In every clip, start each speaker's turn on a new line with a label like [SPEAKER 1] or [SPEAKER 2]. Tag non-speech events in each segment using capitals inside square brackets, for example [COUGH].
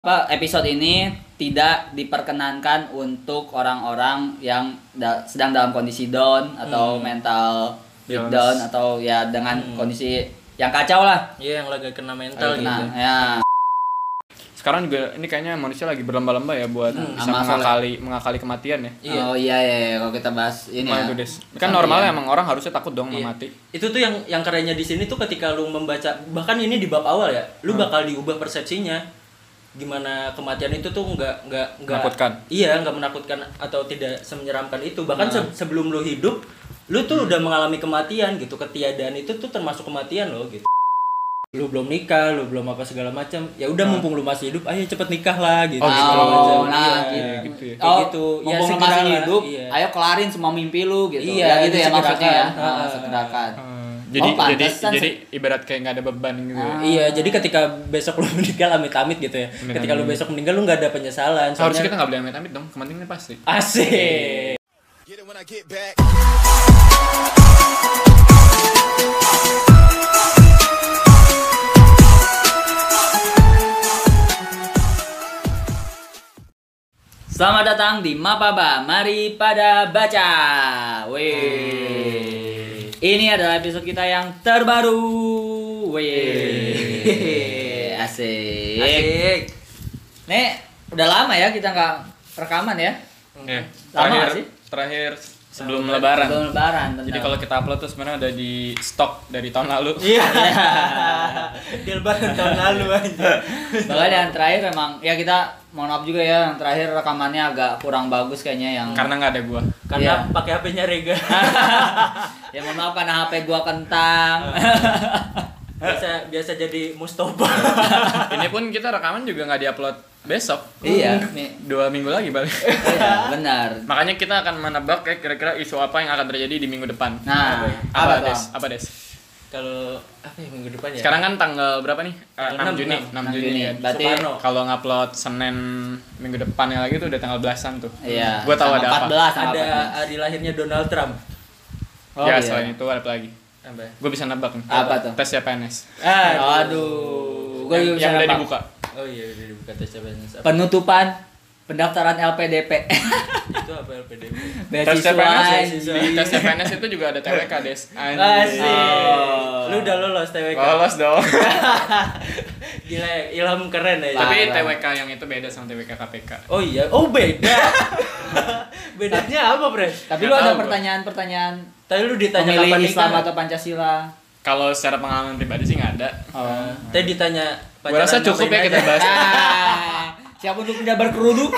[SPEAKER 1] Pak, episode ini tidak diperkenankan untuk orang-orang yang da- sedang dalam kondisi down atau
[SPEAKER 2] Hmm.
[SPEAKER 1] mental
[SPEAKER 3] Yes.
[SPEAKER 1] down atau ya dengan kondisi yang kacau lah.
[SPEAKER 2] Iya yang lagi kena Hmm. mental
[SPEAKER 1] Lagi
[SPEAKER 2] gitu.
[SPEAKER 1] kena, ya.
[SPEAKER 3] sekarang juga ini kayaknya manusia lagi berlomba-lomba ya buat bisa
[SPEAKER 1] Sama
[SPEAKER 3] mengakali mengakali kematian ya.
[SPEAKER 2] Iya.
[SPEAKER 1] Oh Hmm, iya iya, iya. kalau kita bahas ini
[SPEAKER 3] Nah,
[SPEAKER 1] ya.
[SPEAKER 3] itu Des. Kan
[SPEAKER 1] Iya.
[SPEAKER 3] normalnya emang orang harusnya takut dong
[SPEAKER 2] Iya.
[SPEAKER 3] sama mati.
[SPEAKER 2] Itu tuh yang yang kerennya di sini tuh ketika lu membaca bahkan ini di bab awal ya, lu
[SPEAKER 1] Hmm.
[SPEAKER 2] bakal diubah persepsinya. Gimana kematian itu tuh nggak nggak nggak
[SPEAKER 3] Menakutkan.
[SPEAKER 2] Iya, nggak menakutkan atau tidak semenyeramkan itu. Bahkan
[SPEAKER 1] Hmm.
[SPEAKER 2] se- sebelum lu hidup, lu tuh udah mengalami kematian gitu. Ketiadaan itu tuh termasuk kematian loh gitu. Lu belum nikah, lu belum apa segala macam. Ya udah mumpung lu masih hidup, ayo cepet nikah lah gitu.
[SPEAKER 3] Oh,
[SPEAKER 2] segala macam.
[SPEAKER 1] Hmm. Oh, nah,
[SPEAKER 2] Iya.
[SPEAKER 1] gitu.
[SPEAKER 3] gitu ya.
[SPEAKER 1] Oh,
[SPEAKER 2] Gitu. Ya,
[SPEAKER 1] mumpung lu
[SPEAKER 2] segera
[SPEAKER 1] masih
[SPEAKER 2] lah.
[SPEAKER 1] hidup,
[SPEAKER 2] Iya.
[SPEAKER 1] ayo kelarin semua mimpi lu gitu.
[SPEAKER 2] Iya,
[SPEAKER 1] ya gitu ya
[SPEAKER 2] disegerakan.
[SPEAKER 1] maksudnya ya.
[SPEAKER 2] Ah.
[SPEAKER 1] Nah, segerakan.
[SPEAKER 3] jadi
[SPEAKER 1] Oh,
[SPEAKER 3] jadi
[SPEAKER 1] pantesan Ah,
[SPEAKER 3] jadi ibarat kayak nggak ada beban gitu. ya.
[SPEAKER 2] Iya, jadi ketika besok lu [LAUGHS] meninggal amit-amit gitu ya. Ketika lu besok meninggal lu nggak ada penyesalan.
[SPEAKER 3] Harusnya
[SPEAKER 2] Soalnya
[SPEAKER 3] kita nggak boleh amit-amit dong, kematian ini pasti.
[SPEAKER 2] asik.
[SPEAKER 4] Get it when I get back.
[SPEAKER 1] Selamat datang di Mapaba, mari pada baca. Wih. Ini adalah episode kita yang terbaru. Wih. Asik.
[SPEAKER 2] Asik.
[SPEAKER 1] Nih, udah lama ya kita nggak rekaman ya?
[SPEAKER 3] Iya.
[SPEAKER 1] Lama
[SPEAKER 3] Terakhir
[SPEAKER 1] nggak sih?
[SPEAKER 3] terakhir sebelum lebaran.
[SPEAKER 1] Sebelum lebaran tentu.
[SPEAKER 3] Jadi kalau kita upload tuh sebenarnya udah di stok dari tahun lalu.
[SPEAKER 2] Iya. Deal banget tahun lalu aja.
[SPEAKER 1] Bahkan yang terakhir memang ya kita mohon maaf juga ya yang terakhir rekamannya agak kurang bagus kayaknya yang
[SPEAKER 3] Karena nggak ada gua.
[SPEAKER 2] Karena
[SPEAKER 1] Iya.
[SPEAKER 2] pakai HP-nya Rega.
[SPEAKER 1] ya mohon maaf karena HP gua
[SPEAKER 3] [LAUGHS]
[SPEAKER 1] kentang.
[SPEAKER 2] biasa biasa jadi Mustofa.
[SPEAKER 3] ini pun kita rekaman juga nggak diupload besok.
[SPEAKER 1] iya, Mi.
[SPEAKER 3] Dua minggu lagi
[SPEAKER 1] [LAUGHS]
[SPEAKER 3] balik.
[SPEAKER 1] Iya, benar.
[SPEAKER 3] Makanya kita akan menebak ya kira-kira isu apa yang akan terjadi di minggu depan.
[SPEAKER 1] Nah,
[SPEAKER 3] apa,
[SPEAKER 1] tuh,
[SPEAKER 3] des?
[SPEAKER 1] Am?
[SPEAKER 3] Apa des?
[SPEAKER 2] Kalau apa ya minggu depan ya?
[SPEAKER 3] Sekarang kan tanggal berapa nih? Eh,
[SPEAKER 2] Tanggal
[SPEAKER 3] 6, Juni.
[SPEAKER 1] 6
[SPEAKER 2] 6,
[SPEAKER 3] 6, Juni,
[SPEAKER 1] Juni.
[SPEAKER 3] kan.
[SPEAKER 1] Berarti
[SPEAKER 2] ya. Soekarno.
[SPEAKER 3] Kalau ngupload Senin minggu depannya lagi tuh udah tanggal belasan tuh. Hmm.
[SPEAKER 1] Iya.
[SPEAKER 3] Gua tahu
[SPEAKER 1] sama 14
[SPEAKER 3] ada apa.
[SPEAKER 1] sama
[SPEAKER 2] ada
[SPEAKER 1] 14.
[SPEAKER 2] hari lahirnya Donald Trump.
[SPEAKER 1] Oh,
[SPEAKER 3] ya,
[SPEAKER 1] iya.
[SPEAKER 3] selain itu ada apa lagi?
[SPEAKER 2] Apa? ya?
[SPEAKER 3] Gue bisa nebak nih.
[SPEAKER 1] Apa tuh?
[SPEAKER 3] Tes CPNS.
[SPEAKER 1] Aduh. Gua juga
[SPEAKER 3] Yang,
[SPEAKER 1] bisa
[SPEAKER 3] yang udah
[SPEAKER 1] nebak.
[SPEAKER 3] dibuka.
[SPEAKER 2] Oh iya udah dibuka tes CPNS. Apa
[SPEAKER 1] Penutupan pendaftaran LPDP.
[SPEAKER 2] itu apa LPDP?
[SPEAKER 1] [LAUGHS]
[SPEAKER 3] Tes
[SPEAKER 1] Beasiswa.
[SPEAKER 3] CPNS,
[SPEAKER 1] anjing.
[SPEAKER 3] ya? di tes CPNS itu juga ada TWK,
[SPEAKER 1] [LAUGHS]
[SPEAKER 3] Des. Anjing.
[SPEAKER 2] Asik.
[SPEAKER 1] Oh.
[SPEAKER 2] Lu udah lolos TWK.
[SPEAKER 3] Lolos dong.
[SPEAKER 2] Gila, ya, Ilham keren ya.
[SPEAKER 3] Tapi
[SPEAKER 1] Parah.
[SPEAKER 3] TWK yang itu beda sama TWK KPK.
[SPEAKER 2] Oh iya, oh beda. Bedanya apa, Bre?
[SPEAKER 1] Tapi
[SPEAKER 3] Nggak
[SPEAKER 1] lu ada
[SPEAKER 3] tahu gua.
[SPEAKER 1] pertanyaan-pertanyaan
[SPEAKER 2] Tadi lu ditanya
[SPEAKER 1] pemilih
[SPEAKER 2] kapan
[SPEAKER 1] Islam
[SPEAKER 2] nikah.
[SPEAKER 1] atau Pancasila.
[SPEAKER 3] Kalau secara pengalaman pribadi sih nggak ada.
[SPEAKER 1] Oh.
[SPEAKER 2] Tadi ditanya
[SPEAKER 3] Gua rasa cukup ya kita
[SPEAKER 2] [LAUGHS]
[SPEAKER 3] bahas.
[SPEAKER 1] Ah, siap untuk tidak berkerudung?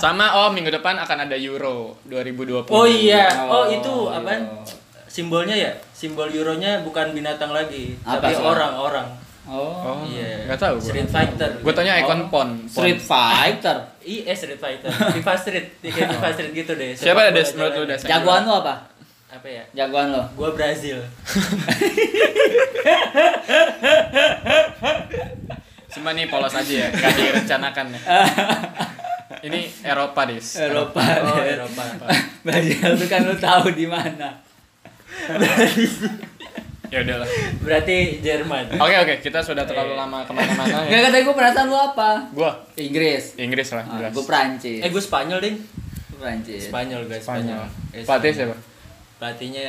[SPEAKER 3] Sama oh minggu depan akan ada Euro 2020.
[SPEAKER 2] Oh iya,
[SPEAKER 1] Oh,
[SPEAKER 2] oh, itu apaan?
[SPEAKER 1] iya.
[SPEAKER 2] Simbolnya ya? Simbol euronya bukan binatang lagi,
[SPEAKER 1] Apa
[SPEAKER 2] tapi
[SPEAKER 1] sih?
[SPEAKER 2] orang-orang.
[SPEAKER 1] Oh.
[SPEAKER 3] Oh,
[SPEAKER 2] Iya.
[SPEAKER 3] nggak tahu gue.
[SPEAKER 2] Street Fighter.
[SPEAKER 3] Gue tanya ikon pon. Pon.
[SPEAKER 1] Street Fighter.
[SPEAKER 2] Iya, Street Fighter. FIFA Street, kayak FIFA Street gitu deh.
[SPEAKER 3] Siapa ada
[SPEAKER 2] Sepak bola
[SPEAKER 3] Des? menurut lu
[SPEAKER 2] jalan.
[SPEAKER 3] Des?
[SPEAKER 1] Jagoan lu apa?
[SPEAKER 2] Apa ya?
[SPEAKER 1] Jagoan lu.
[SPEAKER 2] Gua Brazil.
[SPEAKER 3] Cuma nih polos aja ya, nggak direncanakan ya. Ini Eropa Des.
[SPEAKER 1] Eropa.
[SPEAKER 2] Oh,
[SPEAKER 1] [LAUGHS]
[SPEAKER 2] Eropa.
[SPEAKER 1] Brazil itu kan lu tahu di mana.
[SPEAKER 3] Ya udahlah.
[SPEAKER 2] Berarti Jerman.
[SPEAKER 3] Oke oke, kita sudah terlalu lama kemana-mana ya.
[SPEAKER 1] Enggak kata gue perasaan lu apa?
[SPEAKER 3] Gue
[SPEAKER 1] Inggris.
[SPEAKER 3] Inggris lah jelas.
[SPEAKER 1] gue Prancis.
[SPEAKER 2] Eh, gue Spanyol, Ding.
[SPEAKER 1] Gua Prancis.
[SPEAKER 2] Spanyol, guys,
[SPEAKER 3] Spanyol. ya,
[SPEAKER 2] Spanyol. Eh,
[SPEAKER 3] Pelatih siapa?
[SPEAKER 2] Pelatihnya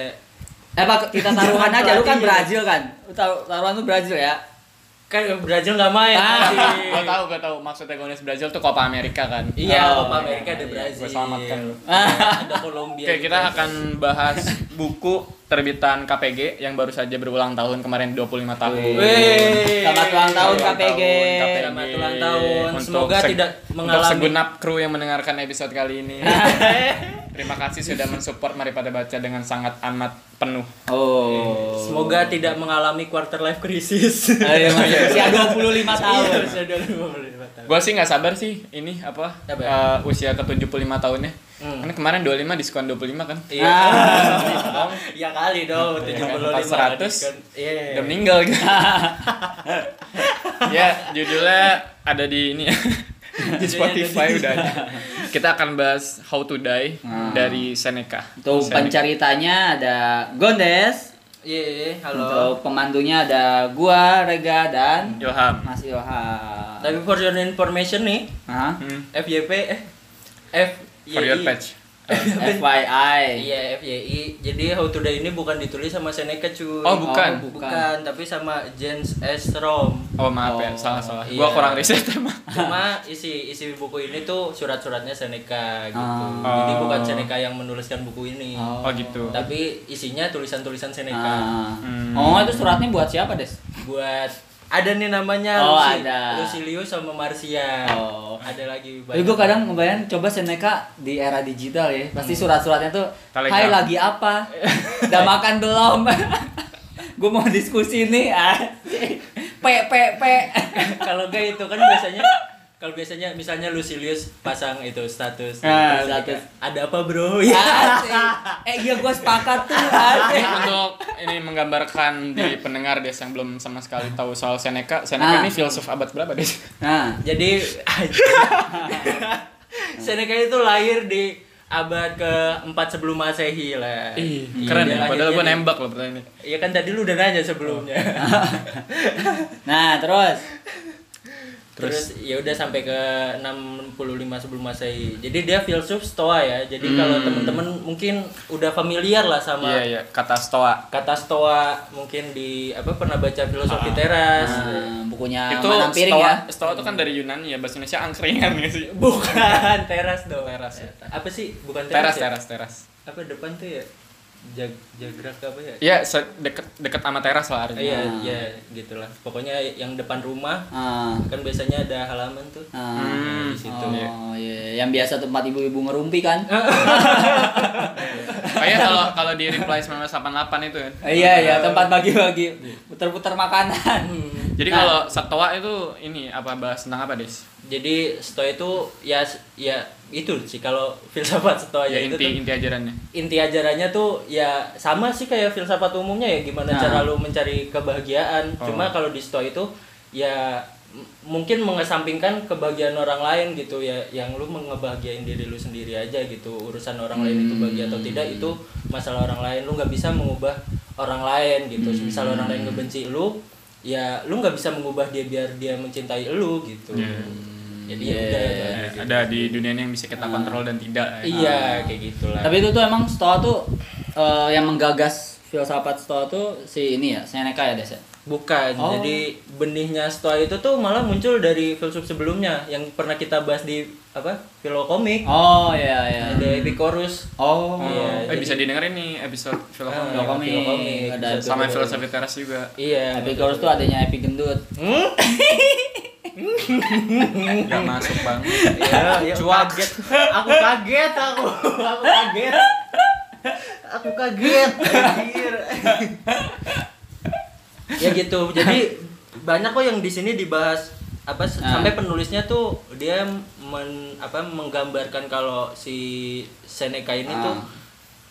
[SPEAKER 1] Eh pak kita taruhan aja lu kan
[SPEAKER 2] Iya, Pelatih.
[SPEAKER 1] Brazil kan. Lu taruh taruhan lu Brazil ya.
[SPEAKER 2] kan Brazil nggak main
[SPEAKER 1] Ah.
[SPEAKER 2] tadi.
[SPEAKER 3] Gue tahu gue tahu maksud tegonis Brazil tuh Copa America kan.
[SPEAKER 2] Iya,
[SPEAKER 1] Oh,
[SPEAKER 2] Copa Amerika
[SPEAKER 1] iya,
[SPEAKER 2] ada
[SPEAKER 1] iya.
[SPEAKER 2] Brazil.
[SPEAKER 3] Gue selamatkan lu.
[SPEAKER 2] ada Kolombia.
[SPEAKER 3] Oke,
[SPEAKER 2] juga.
[SPEAKER 3] kita akan bahas buku terbitan KPG yang baru saja berulang tahun kemarin 25 tahun.
[SPEAKER 2] Wih.
[SPEAKER 1] Selamat ulang tahun
[SPEAKER 3] Selamat
[SPEAKER 1] KPG.
[SPEAKER 3] KPG.
[SPEAKER 2] Selamat ulang tahun.
[SPEAKER 3] Untuk
[SPEAKER 2] Semoga
[SPEAKER 3] seg-
[SPEAKER 2] tidak
[SPEAKER 3] Untuk
[SPEAKER 2] mengalami-
[SPEAKER 3] segenap kru yang mendengarkan episode kali ini. [LAUGHS] Terima kasih sudah mensupport Mari Pada Baca dengan sangat amat penuh.
[SPEAKER 1] [LAUGHS] Oh.
[SPEAKER 2] Semoga tidak mengalami quarter life
[SPEAKER 3] [LAUGHS]
[SPEAKER 2] crisis.
[SPEAKER 3] Ah, iya,
[SPEAKER 1] Ayo masih usia 25 tahun.
[SPEAKER 2] Iya, sudah 25 tahun.
[SPEAKER 3] Gue sih nggak sabar sih ini apa,
[SPEAKER 2] Apa?
[SPEAKER 3] eh, usia ke 75 tahunnya.
[SPEAKER 2] Hmm.
[SPEAKER 3] Karena kemarin 25 diskon 25 kan.
[SPEAKER 2] Iya.
[SPEAKER 3] Dong,
[SPEAKER 2] Ya kali
[SPEAKER 3] Iya, kan?
[SPEAKER 2] dong, 75
[SPEAKER 3] 400.
[SPEAKER 2] kan. Iya.
[SPEAKER 3] Udah meninggal gitu. [LAUGHS] ya, judulnya ada [LAUGHS] di ini ya. di Spotify udah ada. Ah. Kita akan bahas How to Die dari Seneca.
[SPEAKER 1] Tuh penceritanya ada Gondes.
[SPEAKER 2] Iya, iya, halo.
[SPEAKER 1] Untuk pemandunya ada gua, Rega dan
[SPEAKER 3] Ilham.
[SPEAKER 1] Mas Ilham.
[SPEAKER 2] Tapi for your information nih, [LAUGHS]
[SPEAKER 1] Hah?
[SPEAKER 3] Hmm. Iya,
[SPEAKER 2] FYP eh F
[SPEAKER 3] For your patch.
[SPEAKER 1] FYI.
[SPEAKER 2] Iya FYI. Jadi How to Die ini bukan ditulis sama Seneca cuy.
[SPEAKER 3] Oh, bukan.
[SPEAKER 1] Oh,
[SPEAKER 2] bukan. tapi sama James S. Rom.
[SPEAKER 3] Oh maaf ya,
[SPEAKER 1] Oh,
[SPEAKER 3] salah salah.
[SPEAKER 2] iya.
[SPEAKER 3] Gua kurang riset emang.
[SPEAKER 2] Cuma isi isi buku ini tuh surat-suratnya Seneca gitu.
[SPEAKER 1] Ah.
[SPEAKER 2] Jadi
[SPEAKER 3] Oh.
[SPEAKER 2] bukan Seneca yang menuliskan buku ini.
[SPEAKER 1] Oh.
[SPEAKER 3] Oh [LAUGHS] gitu.
[SPEAKER 2] Tapi isinya tulisan-tulisan Seneca
[SPEAKER 1] Ah.
[SPEAKER 3] Hmm.
[SPEAKER 1] Oh, itu suratnya buat siapa, Des?
[SPEAKER 2] buat ada nih namanya
[SPEAKER 1] Oh,
[SPEAKER 2] Lucy-
[SPEAKER 1] ada.
[SPEAKER 2] Lucilius sama Marcia.
[SPEAKER 1] Oh.
[SPEAKER 2] Ada lagi
[SPEAKER 1] Tapi gue kadang ngebayang coba Seneca di era digital ya. Pasti surat-suratnya tuh,
[SPEAKER 3] Telegram.
[SPEAKER 1] Hai lagi apa? Udah makan belum? [LAUGHS] gue mau diskusi nih. [LAUGHS] ah. P, P, P.
[SPEAKER 2] [LAUGHS] kalau gay itu kan biasanya kalau biasanya misalnya Lucilius pasang itu status
[SPEAKER 1] Ah,
[SPEAKER 2] terus
[SPEAKER 1] status.
[SPEAKER 2] kayak, ada apa bro [LAUGHS] ya
[SPEAKER 1] [LAUGHS] Asik. Eh iya gue sepakat tuh. [LAUGHS] asik.
[SPEAKER 3] Untuk ini menggambarkan di [LAUGHS] pendengar des yang belum sama sekali tahu soal Seneca.
[SPEAKER 1] Ah.
[SPEAKER 3] Seneca ini filsuf abad berapa des?
[SPEAKER 1] Nah,
[SPEAKER 2] jadi [LAUGHS] Seneca itu lahir di abad ke-4 sebelum masehi lah
[SPEAKER 3] Ih, keren
[SPEAKER 2] Iya,
[SPEAKER 3] ya. Padahal gua
[SPEAKER 2] jadi-
[SPEAKER 3] nembak Ah, loh pertanyaan ini.
[SPEAKER 2] Iya kan tadi lu udah nanya sebelumnya
[SPEAKER 1] nah terus.
[SPEAKER 2] [LAUGHS] terus ya udah sampai ke 65 sebelum masehi jadi dia filsuf stoa ya jadi kalau temen-temen mungkin udah familiar lah sama
[SPEAKER 3] Hmm. Iya iya, kata Stoa.
[SPEAKER 2] kata stoa mungkin di apa pernah baca filosofi
[SPEAKER 3] Ah,
[SPEAKER 2] teras
[SPEAKER 1] Nah, bukunya
[SPEAKER 3] itu
[SPEAKER 1] Manan Piring
[SPEAKER 3] Stoa,
[SPEAKER 1] ya.
[SPEAKER 3] Stoa itu kan dari Yunani ya, bahasa Indonesia angkringan ya sih.
[SPEAKER 2] bukan [LAUGHS] teras dong teras apa sih bukan teras
[SPEAKER 3] ya. Teras,
[SPEAKER 2] ya?
[SPEAKER 3] teras, teras.
[SPEAKER 2] apa depan tuh ya jag jagrak apa ya
[SPEAKER 3] Iya, se- deket deket sama teras lah
[SPEAKER 2] Eh,
[SPEAKER 3] artinya.
[SPEAKER 2] iya iya gitulah pokoknya yang depan rumah
[SPEAKER 1] Ah,
[SPEAKER 2] kan biasanya ada halaman tuh
[SPEAKER 1] ah.
[SPEAKER 2] di Nah,
[SPEAKER 3] Hmm.
[SPEAKER 2] situ
[SPEAKER 1] oh iya, yang biasa tempat ibu-ibu ngerumpi kan?
[SPEAKER 3] Kayak kalau kalau di reply 1988 itu ya.
[SPEAKER 1] iya iya tempat bagi-bagi putar-putar makanan. Nah,
[SPEAKER 3] Jadi
[SPEAKER 2] Nah.
[SPEAKER 3] kalau Stoa itu ini apa bahas tentang apa, Des?
[SPEAKER 2] jadi stoa itu ya ya itu sih kalau filsafat stoa
[SPEAKER 3] Ya
[SPEAKER 2] ya itu tuh
[SPEAKER 3] inti inti ajarannya.
[SPEAKER 2] inti ajarannya tuh ya sama sih kayak filsafat umumnya ya gimana
[SPEAKER 1] Nah.
[SPEAKER 2] cara lu mencari kebahagiaan
[SPEAKER 3] Oh.
[SPEAKER 2] cuma kalau di stoa itu ya m- mungkin mengesampingkan kebahagiaan orang lain gitu ya yang lu mengebahagiain diri lu sendiri aja gitu urusan orang lain itu bahagia atau tidak itu masalah orang lain lu nggak bisa mengubah orang lain gitu misal orang lain ngebenci lu ya lu nggak bisa mengubah dia biar dia mencintai lu gitu jadi ya udah
[SPEAKER 1] Yeah.
[SPEAKER 2] ya. Ah.
[SPEAKER 3] Ada di dunia ini yang bisa kita kontrol dan tidak. ya.
[SPEAKER 2] iya kayak gitulah
[SPEAKER 1] Tapi itu tuh emang Stoa tuh eh, yang menggagas filsafat Stoa tuh si ini ya Seneca ya Des. ya?
[SPEAKER 2] Bukan,
[SPEAKER 1] Oh.
[SPEAKER 2] jadi benihnya stoa itu tuh malah muncul dari filsuf sebelumnya yang pernah kita bahas di apa filokomik
[SPEAKER 1] Oh iya iya.
[SPEAKER 2] ada Epicurus.
[SPEAKER 1] Oh.
[SPEAKER 3] Oh,
[SPEAKER 2] Iya,
[SPEAKER 3] eh
[SPEAKER 2] jadi-
[SPEAKER 3] bisa didengerin nih episode filosofi
[SPEAKER 1] Ah. Filokomik, ada
[SPEAKER 2] ada
[SPEAKER 3] sama filosofi teras juga.
[SPEAKER 2] Iya.
[SPEAKER 1] Epicurus tuh adanya Epi gendut.
[SPEAKER 2] [LAUGHS] Hmm? Uh.
[SPEAKER 3] Gak masuk bang.
[SPEAKER 2] [LAUGHS] Iya, iya,
[SPEAKER 3] Cuak.
[SPEAKER 2] kaget. Aku kaget aku. Aku kaget. Aku kaget. Anjir. ya gitu. Jadi banyak kok yang di sini dibahas apa s-
[SPEAKER 1] Ah.
[SPEAKER 2] sampai penulisnya tuh dia men, apa menggambarkan kalau si Seneca ini
[SPEAKER 1] Ah. Oh.
[SPEAKER 2] tuh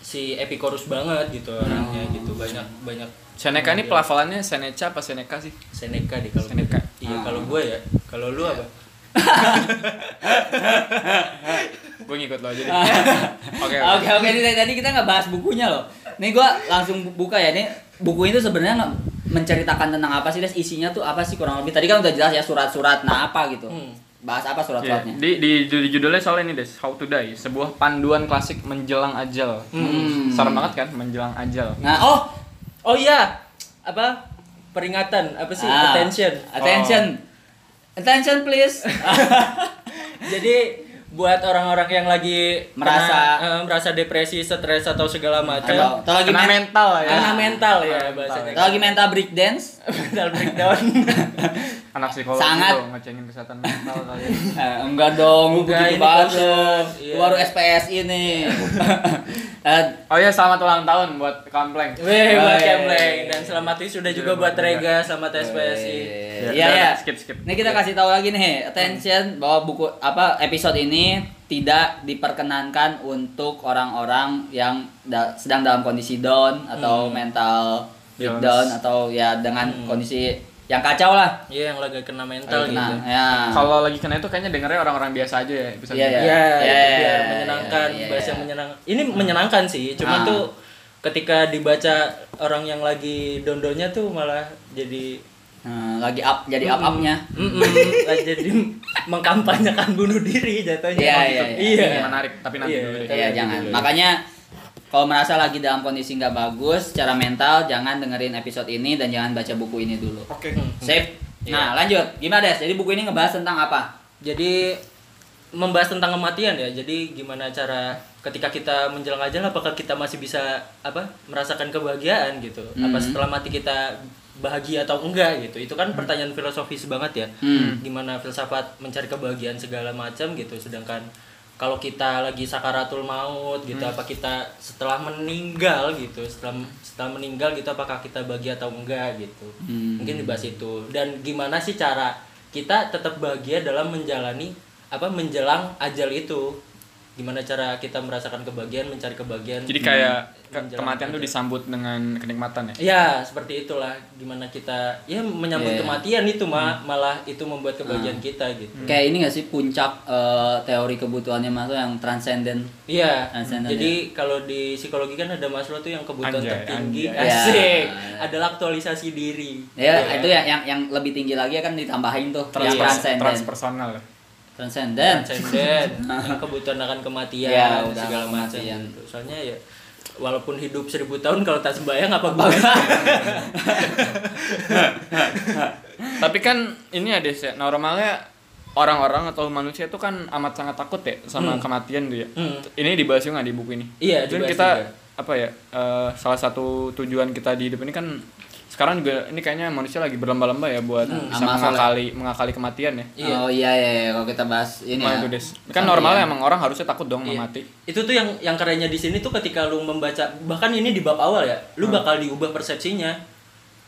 [SPEAKER 2] si Epicurus banget gitu orangnya gitu banyak banyak
[SPEAKER 3] Seneca ini pelafalannya Seneca apa Seneca sih?
[SPEAKER 2] Seneca deh kalau
[SPEAKER 3] Seneca.
[SPEAKER 1] Ah.
[SPEAKER 2] iya
[SPEAKER 1] Iya.
[SPEAKER 2] kalau gue ya kalau lu apa
[SPEAKER 3] Gue ngikut lo aja deh.
[SPEAKER 2] [LAUGHS]
[SPEAKER 3] Oke. oke.
[SPEAKER 1] Oke oke ini dari tadi kita nggak bahas bukunya loh. Nih gua langsung bu- buka ya. Ini buku itu sebenarnya nge- menceritakan tentang apa sih Des? Isinya tuh apa sih kurang lebih? Tadi kan udah jelas ya surat-surat. Nah apa gitu?
[SPEAKER 2] Hmm.
[SPEAKER 1] Bahas apa
[SPEAKER 3] Iya,
[SPEAKER 1] surat-suratnya?
[SPEAKER 3] Di, di, di judulnya soal ini des, How to Die, sebuah panduan klasik menjelang ajal.
[SPEAKER 1] Hmm.
[SPEAKER 3] Serem banget kan menjelang ajal.
[SPEAKER 1] Nah oh
[SPEAKER 2] Oh iya, apa peringatan apa sih
[SPEAKER 1] Ah,
[SPEAKER 2] attention? Oh.
[SPEAKER 1] Attention. Attention
[SPEAKER 2] [LAUGHS]
[SPEAKER 1] please.
[SPEAKER 2] Jadi buat orang-orang yang lagi kena,
[SPEAKER 1] Merasa-
[SPEAKER 2] eh, merasa depresi, stres atau segala
[SPEAKER 1] Atau
[SPEAKER 2] macam,
[SPEAKER 1] atau lagi
[SPEAKER 3] Kena
[SPEAKER 1] men-
[SPEAKER 3] mental ya.
[SPEAKER 2] kena mental ya
[SPEAKER 3] Mental.
[SPEAKER 2] bahasanya.
[SPEAKER 1] atau lagi mental break dance.
[SPEAKER 2] [LAUGHS] mental
[SPEAKER 1] [LAUGHS]
[SPEAKER 2] breakdown.
[SPEAKER 3] Anak psikologi
[SPEAKER 1] Sangat.
[SPEAKER 3] tuh ngecengin kesehatan mental kali. ya.
[SPEAKER 1] Eh, [LAUGHS] enggak dong,
[SPEAKER 2] Enggak,
[SPEAKER 1] begitu
[SPEAKER 2] ini
[SPEAKER 1] banget
[SPEAKER 2] proses.
[SPEAKER 1] dong.
[SPEAKER 2] Iya.
[SPEAKER 1] Baru SPS [LAUGHS] ini. Eh,
[SPEAKER 3] Oh iya, selamat ulang tahun buat Kampleng.
[SPEAKER 2] Weh, buat
[SPEAKER 1] Weh.
[SPEAKER 2] Kemleng
[SPEAKER 1] iya,
[SPEAKER 2] dan selamat sudah juga buat Rega, selamat SPSI.
[SPEAKER 1] Iya
[SPEAKER 3] Ya,
[SPEAKER 1] iya.
[SPEAKER 3] udah, udah, skip, skip.
[SPEAKER 1] Ini kita kasih tahu lagi nih, attention bahwa buku apa episode ini tidak diperkenankan untuk orang-orang yang da- sedang dalam kondisi down atau mental breakdown
[SPEAKER 3] Illness.
[SPEAKER 1] atau ya dengan kondisi yang kacau lah.
[SPEAKER 2] Iya, yang lagi kena mental
[SPEAKER 1] Lagi kena.
[SPEAKER 2] gitu.
[SPEAKER 1] Ya.
[SPEAKER 3] Kalau lagi kena itu kayaknya dengernya orang-orang biasa aja ya. Bisa
[SPEAKER 1] Iya,
[SPEAKER 2] Iya,
[SPEAKER 1] iya.
[SPEAKER 2] itu
[SPEAKER 1] Iya,
[SPEAKER 2] biar
[SPEAKER 1] iya,
[SPEAKER 2] menyenangkan,
[SPEAKER 1] iya, iya,
[SPEAKER 2] bahasa
[SPEAKER 1] iya.
[SPEAKER 2] menyenangkan. Ini menyenangkan sih,
[SPEAKER 1] Ah.
[SPEAKER 2] cuman tuh ketika dibaca orang yang lagi dondonya tuh malah jadi
[SPEAKER 1] Nah, lagi up jadi up upnya
[SPEAKER 2] Mm-mm. jadi mengkampanyekan bunuh diri jatuhnya.
[SPEAKER 1] Iya, iya,
[SPEAKER 2] iya.
[SPEAKER 3] Ini menarik, tapi
[SPEAKER 2] Iya,
[SPEAKER 3] nanti dulu deh.
[SPEAKER 1] Iya jangan. Makanya kalau merasa lagi dalam kondisi nggak bagus secara mental, jangan dengerin episode ini dan jangan baca buku ini dulu.
[SPEAKER 4] Oke.
[SPEAKER 1] Safe. Nah lanjut, gimana Des? Jadi buku ini ngebahas tentang apa?
[SPEAKER 2] Jadi membahas tentang kematian ya. Jadi gimana cara ketika kita menjelang ajal apakah kita masih bisa apa merasakan kebahagiaan gitu? Apa
[SPEAKER 1] Hmm.
[SPEAKER 2] setelah mati kita bahagia atau enggak gitu? Itu kan pertanyaan filosofis banget ya.
[SPEAKER 1] Hmm.
[SPEAKER 2] Gimana filsafat mencari kebahagiaan segala macam gitu. Sedangkan kalau kita lagi sakaratul maut gitu
[SPEAKER 1] Hmm.
[SPEAKER 2] apa kita setelah meninggal gitu setelah setelah meninggal gitu apakah kita bahagia atau enggak gitu
[SPEAKER 1] Hmm.
[SPEAKER 2] mungkin dibahas itu dan gimana sih cara kita tetap bahagia dalam menjalani apa menjelang ajal itu gimana cara kita merasakan kebahagiaan mencari kebahagiaan
[SPEAKER 3] Jadi kayak ke-
[SPEAKER 2] menjelang
[SPEAKER 3] kematian tuh
[SPEAKER 2] ajal.
[SPEAKER 3] disambut dengan kenikmatan ya.
[SPEAKER 2] ya seperti itulah gimana kita ya menyambut
[SPEAKER 1] Iya. Ah.
[SPEAKER 2] kematian itu ma- malah itu membuat kebahagiaan kita gitu
[SPEAKER 1] Kayak ini nggak sih puncak eh, teori kebutuhannya masuk yang transcendent?
[SPEAKER 2] Iya.
[SPEAKER 1] Ascendant,
[SPEAKER 2] Jadi kalau di psikologi kan ada Maslow tuh yang kebutuhan
[SPEAKER 3] Anjay,
[SPEAKER 2] tertinggi Iya.
[SPEAKER 3] anjay.
[SPEAKER 2] asik
[SPEAKER 1] Ya.
[SPEAKER 2] adalah aktualisasi diri.
[SPEAKER 1] Ya itu ya yang yang lebih tinggi lagi kan ditambahin tuh yang
[SPEAKER 3] Transpers-
[SPEAKER 1] transcendent.
[SPEAKER 3] transpersonal.
[SPEAKER 1] Transcendent. [LAUGHS]
[SPEAKER 2] Transcendent, yang kebutuhan akan kematian
[SPEAKER 1] Ya, Iya. udah
[SPEAKER 2] segala macam.
[SPEAKER 1] kematian.
[SPEAKER 2] gitu. Soalnya ya walaupun hidup seribu tahun kalau tak sembahyang
[SPEAKER 1] [LAUGHS]
[SPEAKER 2] apa gua
[SPEAKER 3] Tapi kan ini ada sih. Normalnya orang-orang atau manusia itu kan amat sangat takut ya sama kematian tuh ya.
[SPEAKER 2] Hmm.
[SPEAKER 3] Ini dibahas juga nggak di buku ini?
[SPEAKER 2] Iya,
[SPEAKER 3] Dan
[SPEAKER 2] dibahas
[SPEAKER 3] kita
[SPEAKER 2] juga.
[SPEAKER 3] apa ya? eh, salah satu tujuan kita di hidup ini kan sekarang juga ini kayaknya manusia lagi berlomba-lomba ya buat
[SPEAKER 2] Hmm,
[SPEAKER 3] bisa
[SPEAKER 1] Sama soal-
[SPEAKER 3] mengakali mengakali kematian ya.
[SPEAKER 2] Iya.
[SPEAKER 1] Oh iya iya, iya. kalau kita bahas ini
[SPEAKER 3] Gimana
[SPEAKER 1] ya.
[SPEAKER 3] tuh, Des? Kan
[SPEAKER 1] Sampai
[SPEAKER 3] normalnya
[SPEAKER 1] yang-
[SPEAKER 3] emang orang harusnya takut dong
[SPEAKER 2] Iya.
[SPEAKER 3] sama mati.
[SPEAKER 2] Itu tuh yang yang kerennya di sini tuh ketika lu membaca bahkan ini di bab awal ya, lu
[SPEAKER 3] Hmm.
[SPEAKER 2] bakal diubah persepsinya.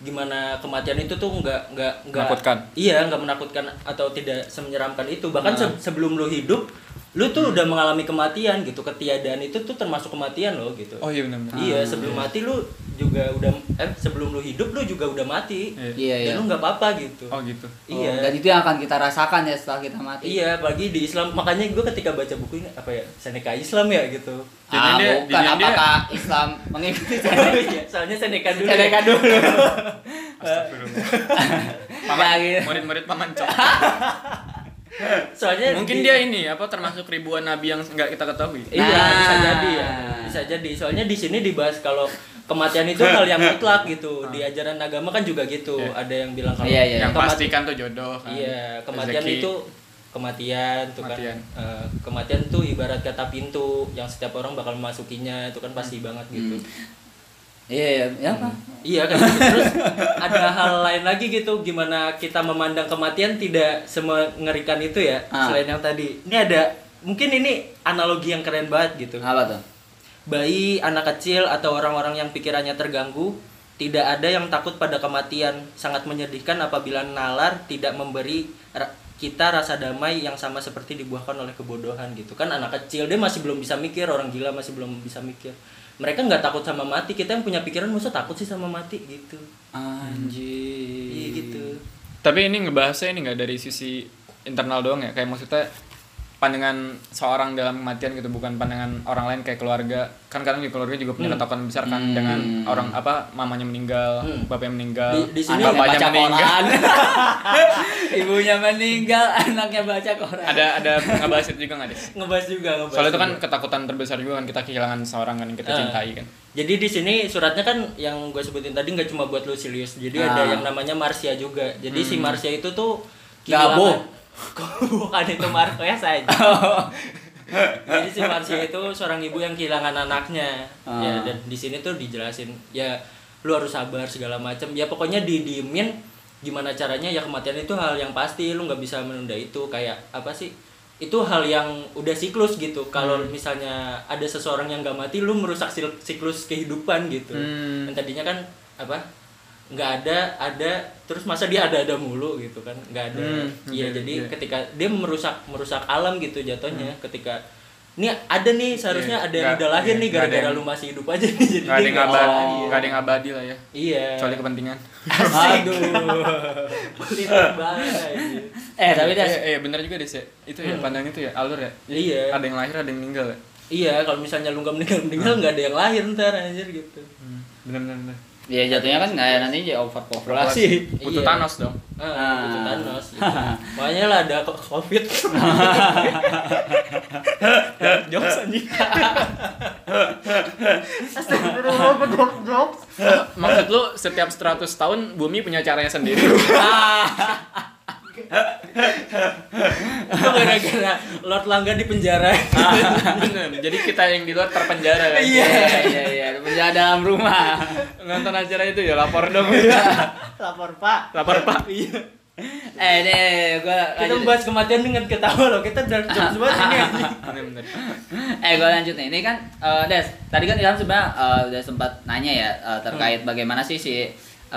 [SPEAKER 2] Gimana kematian itu tuh nggak nggak nggak
[SPEAKER 3] Menakutkan.
[SPEAKER 2] Iya, nggak menakutkan atau tidak semenyeramkan itu. Bahkan
[SPEAKER 3] Hmm.
[SPEAKER 2] se- sebelum lu hidup, lu tuh udah mengalami kematian gitu. Ketiadaan itu tuh termasuk kematian loh gitu.
[SPEAKER 3] Oh iya benar.
[SPEAKER 2] Iya, sebelum mati lu juga udah eh sebelum lu hidup lu juga udah mati.
[SPEAKER 3] Iya.
[SPEAKER 1] Iya, iya.
[SPEAKER 2] Dan lu nggak apa-apa gitu.
[SPEAKER 3] Oh gitu.
[SPEAKER 1] Oh,
[SPEAKER 2] Iya.
[SPEAKER 1] Dan itu yang akan kita rasakan ya setelah kita mati.
[SPEAKER 2] Iya, bagi di Islam makanya gue ketika baca buku ini apa ya Seneca Islam ya gitu.
[SPEAKER 1] Ah,
[SPEAKER 3] Jadi dia-
[SPEAKER 1] bukan
[SPEAKER 3] jadi dia-
[SPEAKER 1] apakah Islam mengikuti
[SPEAKER 2] [LAUGHS] Oh iya, Soalnya Seneca dulu.
[SPEAKER 1] Seneca dulu. Ya,
[SPEAKER 3] Paman,
[SPEAKER 1] gitu.
[SPEAKER 3] murid-murid paman Cok.
[SPEAKER 2] [LAUGHS] Soalnya Iya,
[SPEAKER 3] Mungkin
[SPEAKER 2] di-
[SPEAKER 3] dia ini apa termasuk ribuan nabi yang nggak kita ketahui.
[SPEAKER 2] Iya,
[SPEAKER 1] Nah.
[SPEAKER 2] bisa jadi ya. Bisa jadi. Soalnya di sini dibahas kalau kematian itu hal yang mutlak gitu. Di ajaran agama kan juga gitu. Ada yang bilang kalau
[SPEAKER 1] Ah. Iya, iya.
[SPEAKER 3] yang
[SPEAKER 2] kemat-
[SPEAKER 3] pasti kan tuh jodoh kan.
[SPEAKER 2] Iya, kematian
[SPEAKER 3] Rezeki.
[SPEAKER 2] itu kematian tuh
[SPEAKER 3] Kematian.
[SPEAKER 2] kan eh, kematian tuh ibarat kata pintu yang setiap orang bakal memasukinya itu kan pasti
[SPEAKER 1] Hmm.
[SPEAKER 2] banget gitu.
[SPEAKER 1] Iya, iya, iya, apa?
[SPEAKER 2] Iya kan. Terus ada hal lain lagi gitu gimana kita memandang kematian tidak semengerikan itu ya
[SPEAKER 1] Ah.
[SPEAKER 2] selain yang tadi. Ini ada mungkin ini analogi yang keren banget gitu.
[SPEAKER 1] Apa tuh?
[SPEAKER 2] Bayi, anak kecil atau orang-orang yang pikirannya terganggu tidak ada yang takut pada kematian. Sangat menyedihkan apabila nalar tidak memberi ra- kita rasa damai yang sama seperti dibuahkan oleh kebodohan gitu kan anak kecil dia masih belum bisa mikir orang gila masih belum bisa mikir mereka nggak takut sama mati kita yang punya pikiran masa takut sih sama mati gitu
[SPEAKER 1] Anjir.
[SPEAKER 2] iya gitu
[SPEAKER 3] Tapi ini ngebahasnya ini nggak dari sisi internal doang ya, kayak maksudnya pandangan seorang dalam kematian gitu, bukan pandangan orang lain kayak keluarga. Kan kadang di keluarga juga
[SPEAKER 2] Hmm.
[SPEAKER 3] punya ketakutan besar kan dengan orang apa mamanya meninggal, bapaknya meninggal,
[SPEAKER 2] Hmm. Di- di sini
[SPEAKER 1] Anaknya
[SPEAKER 3] bapaknya
[SPEAKER 1] baca
[SPEAKER 3] meninggal.
[SPEAKER 1] koran. Ibunya meninggal, anaknya baca koran.
[SPEAKER 3] Ada ada ngebahas itu juga nggak deh?
[SPEAKER 2] ngebahas juga ngebahas
[SPEAKER 3] Soalnya itu
[SPEAKER 2] juga.
[SPEAKER 3] kan ketakutan terbesar juga kan kita kehilangan seorang kan yang kita
[SPEAKER 2] Ah.
[SPEAKER 3] cintai kan.
[SPEAKER 2] Jadi di sini suratnya kan yang gue sebutin tadi nggak cuma buat Lucilius, jadi
[SPEAKER 1] Ah.
[SPEAKER 2] ada yang namanya Marcia juga. Jadi si Marcia itu tuh
[SPEAKER 1] Gabo.
[SPEAKER 2] kehilangan- [LAUGHS] Bukan itu Marquez aja. Jadi si Marcia itu seorang ibu yang kehilangan anaknya.
[SPEAKER 1] Ah.
[SPEAKER 2] Ya dan di sini tuh dijelasin ya lu harus sabar segala macam. Ya pokoknya didiemin gimana caranya ya kematian itu hal yang pasti lu nggak bisa menunda itu kayak apa sih itu hal yang udah siklus gitu kalau misalnya ada seseorang yang nggak mati lu merusak sil- siklus kehidupan gitu
[SPEAKER 3] Hmm.
[SPEAKER 2] yang tadinya kan apa nggak ada ada terus masa dia ada ada mulu gitu kan nggak ada
[SPEAKER 3] Hmm,
[SPEAKER 2] iya
[SPEAKER 3] oke,
[SPEAKER 2] jadi
[SPEAKER 3] iya. Hmm.
[SPEAKER 2] ketika dia merusak merusak alam gitu jatuhnya ketika ini ada nih seharusnya
[SPEAKER 3] Iya,
[SPEAKER 2] ada yang
[SPEAKER 3] nggak-
[SPEAKER 2] udah lahir
[SPEAKER 3] iya,
[SPEAKER 2] nih
[SPEAKER 3] nggak ada
[SPEAKER 2] gara-gara
[SPEAKER 3] yang-
[SPEAKER 2] lu masih hidup aja nih jadi oh.
[SPEAKER 3] Gak ada
[SPEAKER 2] dia
[SPEAKER 3] yang
[SPEAKER 2] nggak
[SPEAKER 3] abadi,
[SPEAKER 2] bisa.
[SPEAKER 3] nggak ada yang abadi lah ya.
[SPEAKER 2] iya [LAUGHS]
[SPEAKER 3] Kecuali kepentingan.
[SPEAKER 2] asik Politik banget aja.
[SPEAKER 1] Eh, tapi Des,
[SPEAKER 3] Eh, eh, bener juga deh, Sek. Itu ya
[SPEAKER 2] Hmm.
[SPEAKER 3] pandangan itu ya, alur ya.
[SPEAKER 2] iya
[SPEAKER 3] Ada yang lahir, ada yang meninggal ya.
[SPEAKER 2] iya kalau misalnya lu nggak meninggal meninggal nggak ada yang lahir ntar anjir gitu
[SPEAKER 3] Bener bener. bener.
[SPEAKER 1] ya jatuhnya kan kayak nanti jadi overpopulasi
[SPEAKER 3] Populasi. Butuh
[SPEAKER 2] Iya.
[SPEAKER 3] Thanos dong.
[SPEAKER 1] Ah.
[SPEAKER 2] Ah, itu Thanos. gitu. Makanya lah ada ko- COVID. [LAUGHS]
[SPEAKER 3] Jokes anjing. Maksud lu setiap 100 tahun bumi punya caranya sendiri. [LAUGHS]
[SPEAKER 2] Itu gara-gara Lord Langga di penjara.
[SPEAKER 3] Bener. Jadi kita yang di luar terpenjara. kan?
[SPEAKER 1] iya iya iya penjara dalam rumah
[SPEAKER 3] Nonton acara itu ya lapor dong.
[SPEAKER 1] Iya.
[SPEAKER 2] Lapor Pak.
[SPEAKER 3] lapor Pak. Iya,
[SPEAKER 1] eh deh gue
[SPEAKER 2] Kita membahas kematian dengan ketawa loh. Kita dark jokes banget ini. anjing.
[SPEAKER 3] Bener, bener.
[SPEAKER 1] eh gue lanjut nih ini kan eh, Des tadi kan Ilham sebenarnya eh, udah sempat nanya ya eh, terkait bagaimana sih si eh,